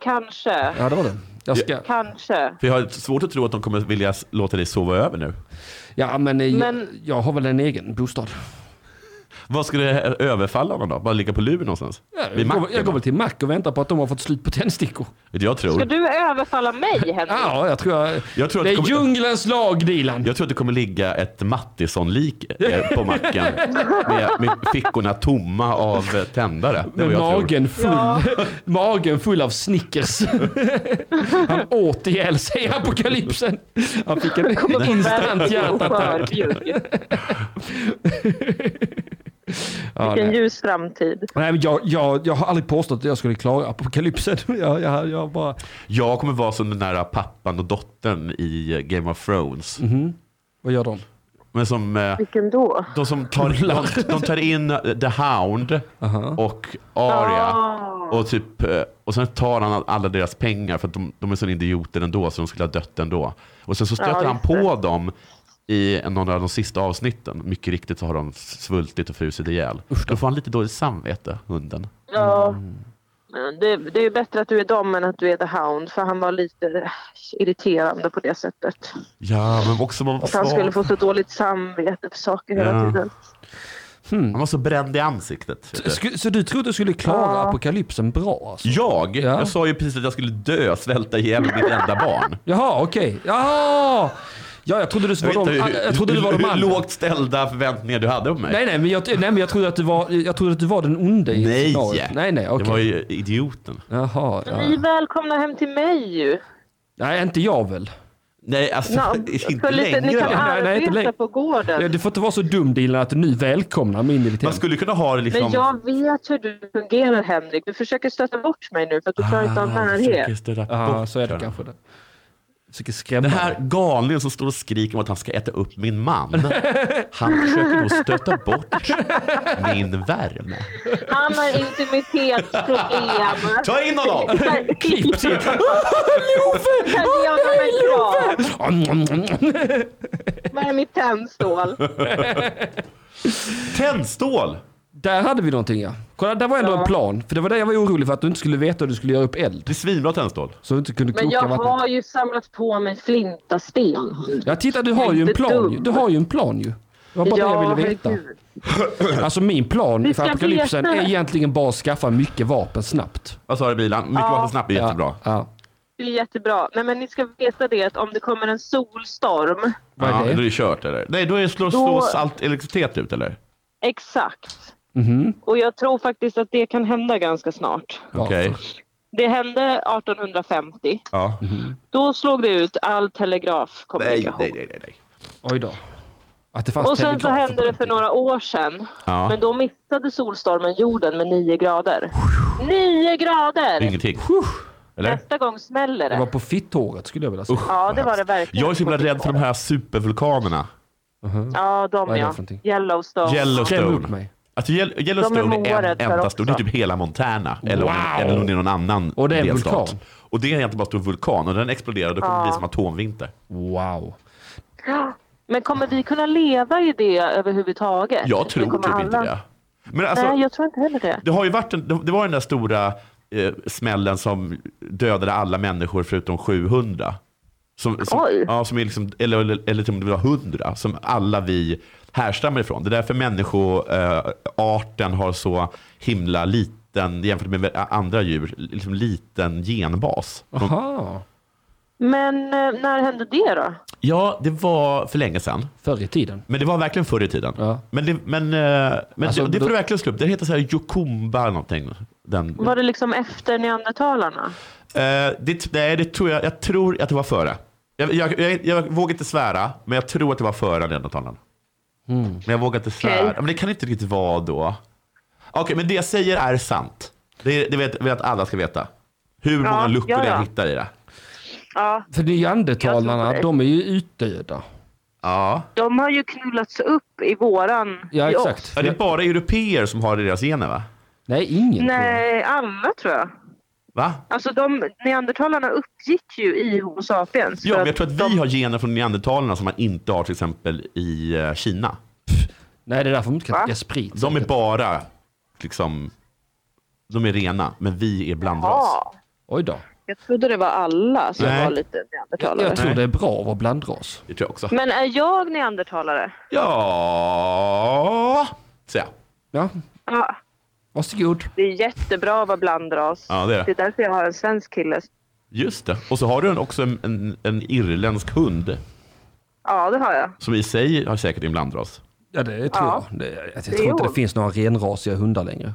S4: kanske.
S1: Ja, det var det. Jag ska...
S4: Kanske.
S2: För jag har svårt att tro att de kommer vilja s- låta dig sova över nu.
S1: Ja, men, eh, Jag,
S4: Men-
S1: jag har väl en egen bostad.
S2: Vad ska det ö- överfalla honom då? Bara ligga på luren någonstans?
S1: Ja,
S2: Vid
S1: jag, går,
S2: macken,
S1: jag går
S2: va?
S1: väl till mack och väntar på att de har fått slut på tändstickor.
S2: Vet du, Jag
S4: Ska
S2: tror,
S4: du överfalla mig, Henrik?
S1: Ja, jag tror jag...
S2: Jag tror att
S1: det är
S2: det kommer-
S1: djungelns lag, Dilan.
S2: jag tror att det kommer ligga ett Mattisson-lik eh, på macken. med, med fickorna tomma av eh, tändare. Det är
S1: Med
S2: vad jag tror.
S1: magen full,
S4: Ja.
S1: magen full av Snickers. han åt ihjäl sig i apokalypsen. Han fick en instant hjärtattack.
S4: Skörljud.
S1: Ja,
S4: Vilken
S1: nej.
S4: ljus framtid.
S1: Nej, men jag, jag, jag har aldrig påstått att jag skulle klara apokalypsen. Jag, jag, jag bara...
S2: Jag kommer vara som den där pappan och dottern i eh, Game of Thrones.
S1: Mhm. Vad gör de?
S2: Men som, eh,
S4: Vilken då?
S2: de som tar, de, de tar in eh, The Hound och Arya.
S4: Ah.
S2: Och, typ, eh, och sen tar han alla deras pengar för att de, de är sådana idioter ändå så de skulle ha dött ändå. Och sen så stöter
S4: Ja,
S2: han
S4: just det.
S2: på dem i en- någon av de sista avsnitten. Mycket riktigt så har de svultit och frusit ihjäl. Då får han lite dåligt samvete, hunden.
S4: Ja. Men Det, det är ju bättre att du är dom än att du är the hound. För han var lite irriterande på det sättet.
S2: Ja, men också man var
S4: Att han skulle
S2: svag.
S4: få så dåligt samvete för saker
S2: Ja.
S4: hela tiden.
S2: Han var så bränd i ansiktet. vet du.
S1: Sku- Så du trodde du skulle klara apokalypsen bra? Alltså?
S2: Jag?
S1: Ja.
S2: Jag sa ju precis att jag skulle dö, svälta ihjäl mitt enda barn.
S1: Jaha, okej. Jaha! Ja, jag trodde du
S2: Jag
S1: var de,
S2: vet inte
S1: jag trodde du var
S2: hur,
S1: de
S2: hur
S1: andra.
S2: lågt ställda förväntningar du hade på mig.
S1: Nej, nej, men jag, nej, men jag trodde att du var, jag trodde att du var den onde i
S2: Nej.
S1: scenariot. Nej, nej, okej.
S2: Jag var ju idioten.
S1: Jaha, ja.
S4: Ni är välkomna hem till mig ju.
S1: Nej, inte jag väl?
S2: Nej, alltså
S4: Ja,
S2: inte
S4: för lite, ni
S2: längre.
S4: kan
S2: va?
S1: Nej, nej, inte
S4: arbeta
S1: längre.
S4: på gården.
S1: Du får inte vara så dum Dilan att du nu välkomnar mig in i ditt hem.
S2: Man skulle kunna ha det liksom...
S4: Men jag vet hur du fungerar Henrik. Du försöker stöta bort mig nu för att du klarar inte av
S1: Ah,
S4: närhet.
S2: Ah.
S1: Ja, så är det kanske det. Försöker skrämma
S2: Den
S1: här...
S2: här galningen som står och skriker om att han ska äta upp min man. Han försöker då stöta bort min värme.
S4: Han har intimitetsproblem.
S2: Ta in honom!
S1: Klipp till!
S4: Kan jag göra mig bra? Var är mitt tändstål?
S2: Tändstål!
S1: Där hade vi någonting ja. Kolla, där var ändå
S4: Ja.
S1: en plan. För det var det jag var orolig för, att du inte skulle veta hur du skulle göra upp eld.
S2: Det är svinbra tändstål.
S1: Så du inte kunde
S4: Men
S1: koka
S4: jag
S1: vattnet.
S4: har ju samlat på mig flintasten.
S1: Ja, titta du har ju en
S4: inte
S1: plan ju.
S4: dum.
S1: Du har ju en plan ju. Det var bara det jag ville veta.
S4: herregud.
S1: Alltså min plan
S4: Vi
S1: för
S4: ska
S1: apokalypsen
S4: veta.
S1: är egentligen bara att skaffa mycket vapen snabbt.
S2: Vad sa du bilan? Mycket vatten snabbt är jättebra.
S1: Ja, ja.
S4: Det är jättebra. Nej, men ni ska veta det att om det kommer en solstorm.
S1: Vad är
S2: Ja, då
S1: det?
S2: är det kört eller? Nej, då är det slår,
S4: Då-
S2: slås allt elektricitet ut eller?
S1: Mhm.
S4: Exakt. Och jag tror faktiskt att det kan hända ganska snart.
S1: Ja.
S2: Okej.
S4: Det hände 1850.
S2: Ja.
S4: Mm. Då slog det ut all
S2: Nej,
S4: telegrafkommunikation.
S2: nej, nej, nej, nej.
S1: Oj då. Att det fanns
S4: Och sen så
S1: telegraf
S4: hände det för några år sedan.
S2: Ja.
S4: Men då missade solstormen jorden med 9 grader. 9 grader!
S2: Ingenting. Eller?
S4: Nästa gång smäller
S1: Det var
S4: det.
S1: på fitthåret skulle jag vilja säga.
S4: Ja, det var det verkligen.
S2: Jag är så himla rädd för de här supervulkanerna.
S4: Ja,
S1: Vad
S4: de
S1: är det
S4: ja.
S1: för någonting?
S4: Yellowstone.
S1: Skräm
S2: Yellowstone.
S1: upp mig.
S2: Alltså Yell-
S4: De
S2: Yellowstone
S4: är
S2: är, en
S4: måret där
S2: enda stor, det är
S4: också.
S2: typ hela Montana. Eller,
S1: Wow!
S2: om, eller om det är någon annan
S1: Och det är en
S2: delstat.
S1: vulkan.
S2: Och det är egentligen bara en stor vulkan och den exploderar och det kommer
S4: Ja.
S2: bli som atomvinter.
S1: Wow.
S4: Men kommer vi kunna leva i det överhuvudtaget?
S2: Jag tror
S4: Kommer
S2: typ inte
S4: alla-
S2: det. Men alltså,
S4: Nej, jag tror inte heller det.
S2: det, har ju varit en, det, det var den där stora eh, smällen som dödade alla människor förutom 700. Som, som,
S4: Oj.
S2: ja, som är liksom, eller, eller, eller till och med det var 100, som alla vi härstammar ifrån. Det är därför människoarten eh, arten har så himla liten, jämfört med andra djur, liksom liten genbas.
S1: Aha.
S4: Men eh, när hände det då?
S2: Ja, det var för länge sedan.
S1: Förr i tiden.
S2: Men det var verkligen förr i tiden.
S1: Ja.
S2: Men det, men, eh, men
S1: Alltså,
S2: det, det får
S1: då-
S2: du verkligen slå upp. Den heter så här Jokumba eller någonting. Den,
S4: Var det liksom efter neandertalarna?
S2: Eh, det, nej, det tror jag. Jag tror att det var före. Jag, jag, jag, jag vågar inte svära, men jag tror att det var före neandertalarna. Men jag vågar inte svära.
S4: Okej.
S2: Men det kan inte riktigt vara då. Okej, men det jag säger är sant. Det, det vet, vet att alla ska veta. Hur
S4: Ja,
S2: många luckor
S4: ja, ja.
S2: jag hittar i det.
S4: Ja,
S1: För
S4: Jag tror
S1: neandertalarna,
S4: det.
S1: de är ju utdöda.
S2: Ja.
S4: de har ju knullats upp i våran.
S1: Ja,
S4: i oss.
S1: exakt.
S2: ja. Det är bara europeer som har det i deras gener, va?
S1: Nej, ingen.
S4: Nej, alla tror jag.
S2: Va?
S4: Alltså de neandertalarna uppgick ju i Homo sapiens.
S2: Ja,
S4: för
S2: men jag tror att vi
S4: de-
S2: har gener från neandertalarna som man inte har till exempel i eh, Kina.
S1: Nej, det är därför de inte kan
S4: Va?
S1: dricka sprit.
S2: De är
S1: säkert.
S2: bara liksom, de är rena, men vi är blandras.
S4: Ja,
S1: Oj då.
S4: jag trodde det var alla som
S2: Nej.
S4: var lite
S1: Jag,
S4: neandertalare.
S1: jag tror
S2: Nej.
S1: det är bra att vara blandras.
S2: Det tror jag också.
S4: Men är jag neandertalare?
S2: Ja, säger jag.
S1: Ja,
S4: Ja,
S1: varsågod.
S4: det är jättebra att vara blandras.
S2: Ja, det är det.
S4: det är därför jag har en svensk kille.
S2: Just det. Och så har du en- också en, en, en irländsk hund
S4: Ja, det har jag.
S2: som i sig har säkert en blandras.
S1: Ja, det tror
S4: Ja.
S1: jag. Det, jag, jag
S4: Jo.
S1: tror inte det finns några renrasiga hundar längre.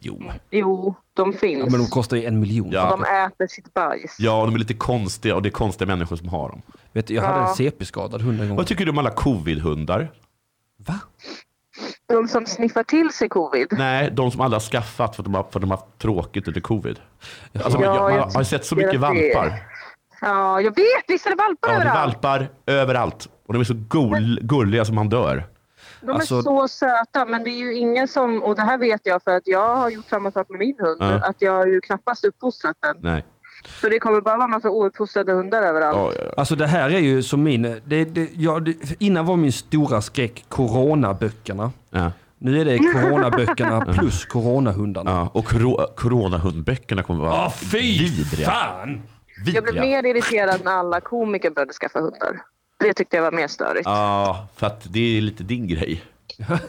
S2: Jo.
S4: Jo, de finns.
S1: Ja, men de kostar ju en miljon.
S2: Ja.
S4: De äter sitt bajs.
S2: Ja, de är lite konstiga och det är konstiga människor som har dem.
S1: Vet du, jag hade
S4: Ja.
S1: en CP-skadad hund en gång.
S2: Vad tycker du om alla covid-hundar?
S1: Va?
S4: De som sniffar till sig covid.
S2: Nej, de som alla har skaffat för att de har, för att de har haft tråkigt under covid. Alltså,
S4: Ja,
S2: man,
S4: jag
S2: man har sett så
S4: tycker
S2: mycket
S4: att det-
S2: valpar.
S4: Ja, jag vet! Visst är det
S2: Ja,
S4: valpar
S2: det är
S4: överallt?
S2: valpar överallt. Och de är så gull, gulliga som man dör.
S4: De är
S1: Alltså-
S4: så söta, men det är ju ingen som... Och det här vet jag för att jag har gjort samma sak med min hund.
S2: Ja.
S4: Att jag har ju knappast uppfostrat den.
S2: Nej.
S4: Så det kommer bara vara en massa ouppfostrade hundar överallt.
S2: Ja, ja, ja.
S1: Alltså det här är ju som min... eh, Det, det, ja, det, innan var min stora skräck coronaböckerna.
S2: ja.
S1: Nu är det coronaböckerna plus coronahundarna.
S2: ja. Och coro- coronahundböckerna kommer vara vidriga.
S1: fan!
S2: vidriga.
S4: Jag blev mer irriterad när alla komiker började skaffa hundar. Det tyckte jag var mer störigt. Ja,
S2: Ja, för att det är lite din grej.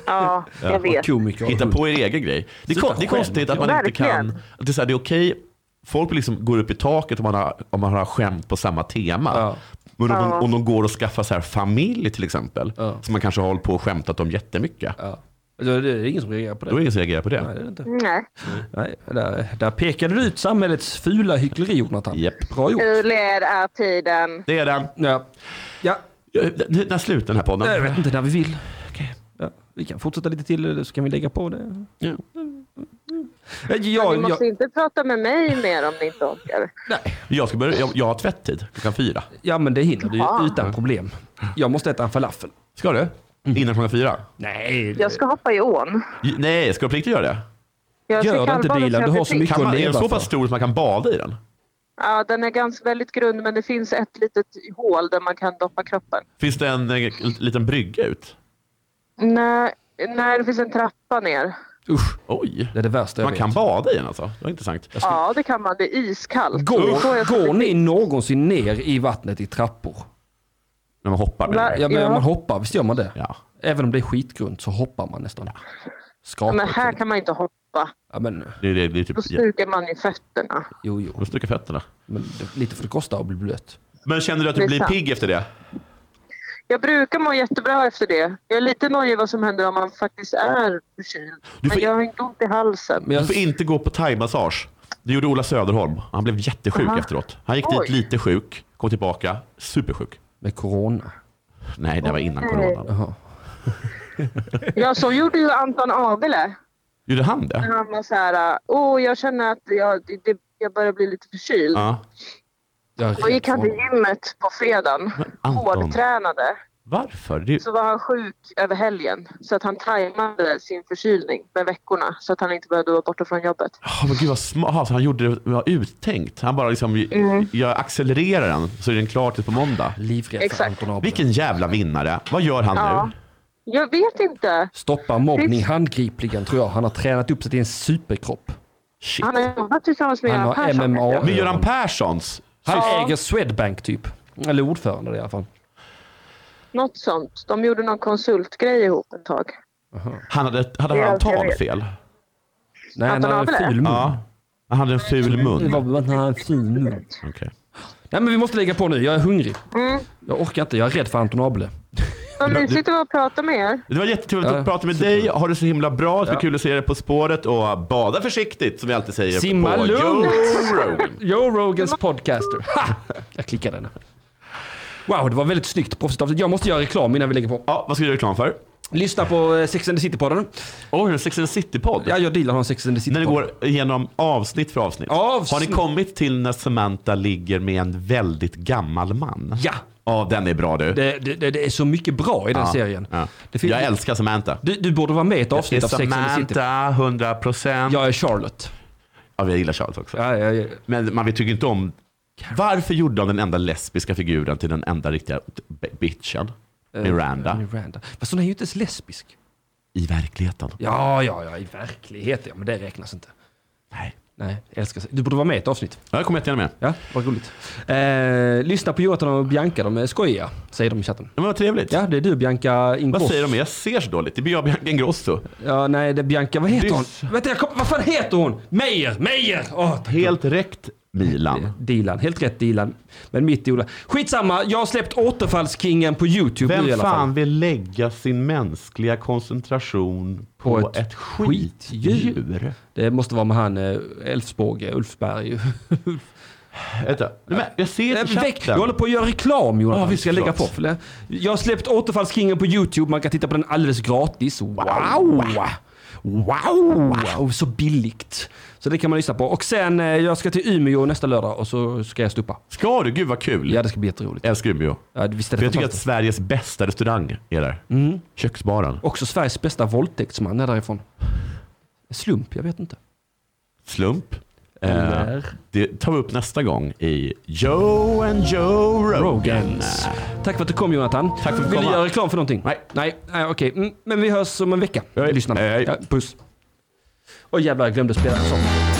S4: jag
S1: Vad
S4: vet.
S1: komiker och
S2: Hitta
S1: hund.
S2: på er egen grej. Det är,
S1: Sluta
S2: kon- det är
S1: själv.
S2: konstigt att man
S4: Ja,
S2: inte kan...
S4: verkligen.
S2: Att det är, så här, det är okej, folk liksom går upp i taket om man har, om man har skämt på samma tema.
S1: Ja.
S2: Men om,
S4: Ja.
S2: de, om de går och skaffar så här familj till exempel,
S1: Ja.
S2: som man kanske har hållit på och skämtat om jättemycket,
S1: Ja. Alltså, det är ingen som reagerar på det.
S2: då är det ingen som reagerar på det.
S1: Nej, det är det inte.
S4: Nej,
S1: Nej, där, där pekade du ut samhällets fula hyckleri, Jonathan.
S2: Japp.
S1: Bra gjort.
S4: hur lär är tiden?
S2: Det är den.
S1: Ja. ja,
S2: Ja, n- När slutar den här podden?
S1: jag vet inte när vi vill. Ja, vi kan fortsätta lite till eller så kan vi lägga på det.
S2: Ja.
S1: Ja,
S4: Ni
S1: jag,
S4: måste
S1: jag,
S4: inte prata med mig mer om ni inte orkar.
S2: Jag, ska börja, jag, jag har tvätttid klockan fyra.
S1: ja, men det hinner du
S4: Jaha.
S1: ju utan problem. Jag måste äta en falafel.
S2: Ska du? Mm. Innan klockan fyra?
S1: Nej,
S4: Jag ska hoppa i ån.
S2: J- Nej, ska du pliktigt göra det?
S4: Jag
S1: Gör
S4: ska
S1: det inte,
S4: kallbada
S1: Dilan.
S4: så jag
S1: Du har
S4: blir
S1: så
S4: pigg.
S1: mycket-
S2: Kan man,
S1: Kunde
S2: är den
S1: leva
S2: så pass
S1: för.
S2: stor att man kan bada i den?
S4: Ja, den är ganska väldigt grund, men det finns ett litet hål där man kan doppa kroppen.
S2: Finns det en, eh, liten brygga ut?
S4: Nej, nej det finns en trappa ner.
S1: usch.
S2: Oj.
S1: Det är det värsta jag
S2: Man
S1: vet.
S2: kan bada i den alltså? Det var intressant.
S4: Ja, det kan man. Det är iskallt. Då får jag-
S1: Går, går ni någonsin ner i vattnet i trappor?
S2: När man hoppar
S4: Va?
S2: med den.
S1: Ja, men
S4: Ja.
S1: man hoppar, visst gör man det?
S2: Ja.
S1: Även om det är skitgrunt så hoppar man nästan. Skapar.
S4: Men här kan man inte hoppa.
S1: Ja, men,
S2: Det är, det, det är typ...
S4: Då stukar man i fötterna.
S1: jo, jo.
S2: De stukar fötterna.
S1: Men det, lite för det kostar att bli blöt.
S2: Men känner du att
S4: Det
S2: du
S4: är
S2: blir
S4: sant.
S2: pigg efter det?
S4: Jag brukar må jättebra efter det. Jag är lite nojig vad som händer om man faktiskt är förkyld.
S2: Du
S4: Men
S2: får-
S4: jag har inte ont i halsen.
S1: Men
S2: Du
S1: jag,
S2: får inte gå på thaimassage. Det gjorde Ola Söderholm. Han blev jättesjuk
S3: Aha.
S2: efteråt. Han gick dit
S3: Oj.
S2: lite sjuk, kom tillbaka supersjuk.
S1: Med corona.
S2: Nej, det var innan corona.
S1: Jaha.
S6: Ja, så gjorde ju Anton Abele.
S2: Gjorde han
S4: Mm.
S2: det?
S6: Han var så här, åh, jag känner att jag, det- det, jag börjar bli lite förkyld.
S2: Ja.
S1: Jag är
S6: Då gick
S1: rädd
S6: han
S1: för
S6: till
S1: honom.
S6: gymmet på fredagen.
S2: Men Anton,
S6: Hårdtränade.
S2: varför? Det är ju...
S6: Så var han sjuk över helgen. Så att han tajmade sin förkylning med veckorna. Så att han inte behövde vara borta från jobbet.
S2: Oh, men gud vad smart. Aha, så han gjorde det var uttänkt. Han bara liksom, jag accelererar den så är den klar till på måndag.
S1: Livrädd för
S6: Exakt.
S1: Anton Abel.
S2: Vilken jävla vinnare. Vad gör han
S6: Ja.
S2: nu?
S6: Jag vet inte.
S1: Stoppar mobbning handgripligen tror jag. Han har tränat upp sig till en superkropp.
S2: Shit.
S6: Han har jobbat tillsammans med
S1: Han
S6: Göran
S1: har
S6: Persson.
S1: MMA.
S2: Med Göran Perssons?
S1: Han
S6: Ja.
S1: äger Swedbank typ. Eller ordförande i alla fall.
S6: Något sånt. De gjorde någon konsultgrej ihop ett tag.
S2: Han hade, hade
S6: Det är
S2: han
S6: allt jag
S2: tal
S6: vet. Mm.
S2: fel?
S1: Nej, han
S6: Anton
S1: har en
S6: Abel?
S1: ful mun.
S2: Ja. Han hade en ful
S6: Mm.
S2: mun.
S1: Det var bara att han har en ful mun.
S2: Okej.
S1: Nej men vi måste lägga på nu. Jag är hungrig.
S6: Mm.
S1: Jag orkar inte. Jag är rädd för Anton Abele.
S6: Vad mysigt det var att prata med er.
S2: Det var jättetrevligt
S1: Ja,
S2: att prata med
S1: super.
S2: dig. Ha det så himla bra. Det
S1: Ja.
S2: var kul att se dig På spåret och bada försiktigt som vi alltid säger.
S1: Simma
S2: på
S1: lugnt.
S2: Joe Rogan.
S1: Joe Rogans podcaster. Ha! Jag klickade den. Wow, det var väldigt snyggt proffsigt avsnitt. Jag måste göra reklam innan vi lägger på.
S2: Ja, vad ska du göra reklam för?
S1: Lyssna på eh, Sex and the City-podden.
S2: Åh, oh, en Sex and the City-podd.
S1: Ja, jag dealar har en Sex and the
S2: När det
S1: City-podd.
S2: går igenom avsnitt för avsnitt.
S1: Avsnitt.
S2: Har ni kommit till när Samantha ligger med en väldigt gammal man?
S1: Ja.
S2: Ja, den är bra du.
S1: Det, det, det, det är så mycket bra i den
S2: ja.
S1: serien.
S2: Ja.
S1: Det finns,
S2: Jag älskar Samantha.
S1: du, du borde vara med i ett
S2: Det är
S1: avsnitt av Sex and the City.
S2: Samantha, 100 procent. Ja.
S1: Jag är Charlotte.
S2: vi gillar Charles också.
S1: Ja, ja, ja.
S2: Men man vi tycker inte om... Varför gjorde han den enda lesbiska figuren till den enda riktiga b- bitchen?
S1: Eh,
S2: Miranda.
S1: Miranda. Fast hon är ju inte ens lesbisk.
S2: I verkligheten.
S1: Ja, ja, ja, i verkligheten. Ja, men det räknas inte.
S2: Nej.
S1: Nej, älskar sig. Du borde vara med i ett avsnitt.
S2: Ja, Jag kommer jättegärna med.
S1: Ja, vad roligt. Eh, lyssna på Jonathan och Bianca, de är skojiga, säger de i chatten.
S2: Men vad trevligt.
S1: Ja, det är du Bianca
S2: Vad
S1: Ingrosso.
S2: säger de? Jag ser så dåligt. Det blir jag Bianca Ingrosso.
S1: Ja, nej, det är Bianca, vad heter
S2: Dys-
S1: hon? Vänta, jag kom, vad fan heter hon? Meijer, Meijer! Åh, tack.
S2: Helt rätt Milan.
S1: Dilan, helt rätt Dilan. Men mitt i Ola. Skitsamma, jag har släppt återfallskingen på YouTube nu i
S2: Vem
S1: alla fall.
S2: fan vill lägga sin mänskliga koncentration på,
S1: På ett
S2: ett, skitdjur?
S1: Det måste vara med han eh, Elfsborg, Ulfsberg.
S2: Vänta, nej, men jag ser inte
S1: Nej, Väck,
S2: chatten.
S1: jag håller på att göra reklam Jonathan.
S2: Ja, visst,
S1: vi ska lägga på.
S2: förlåt.
S1: Förlåt. Jag har släppt återfallskingen på YouTube. Man kan titta på den alldeles gratis. Wow! Wow! wow. Så billigt. Så det kan man lyssna på. Och sen, eh, jag ska till Umeå nästa lördag och så ska jag stuppa.
S2: Ska du? Gud vad kul.
S1: Ja, det ska bli jätteroligt.
S2: Älskar Umeå.
S1: Ja, visst är
S2: För
S1: det
S2: jag tycker att
S1: fantastiskt. Mm.
S2: Sveriges bästa restaurang är där. Köksbaren.
S1: Också Sveriges bästa våldtäktsman är därifrån. Slump, jag vet inte.
S2: Slump.
S1: Eller-
S2: Eh, det tar vi upp nästa gång i Joe and Joe Rogan.
S1: Rogans. Tack för att du kom Jonathan.
S2: Tack för att du
S1: Vill
S2: kom.
S1: du göra reklam för någonting?
S2: Nej.
S1: Nej, nej okej. Mm, men vi hörs om en vecka.
S2: Hej.
S1: Lyssna.
S2: Hej.
S1: Ja, puss. Oj jävlar, jag glömde spela en sång.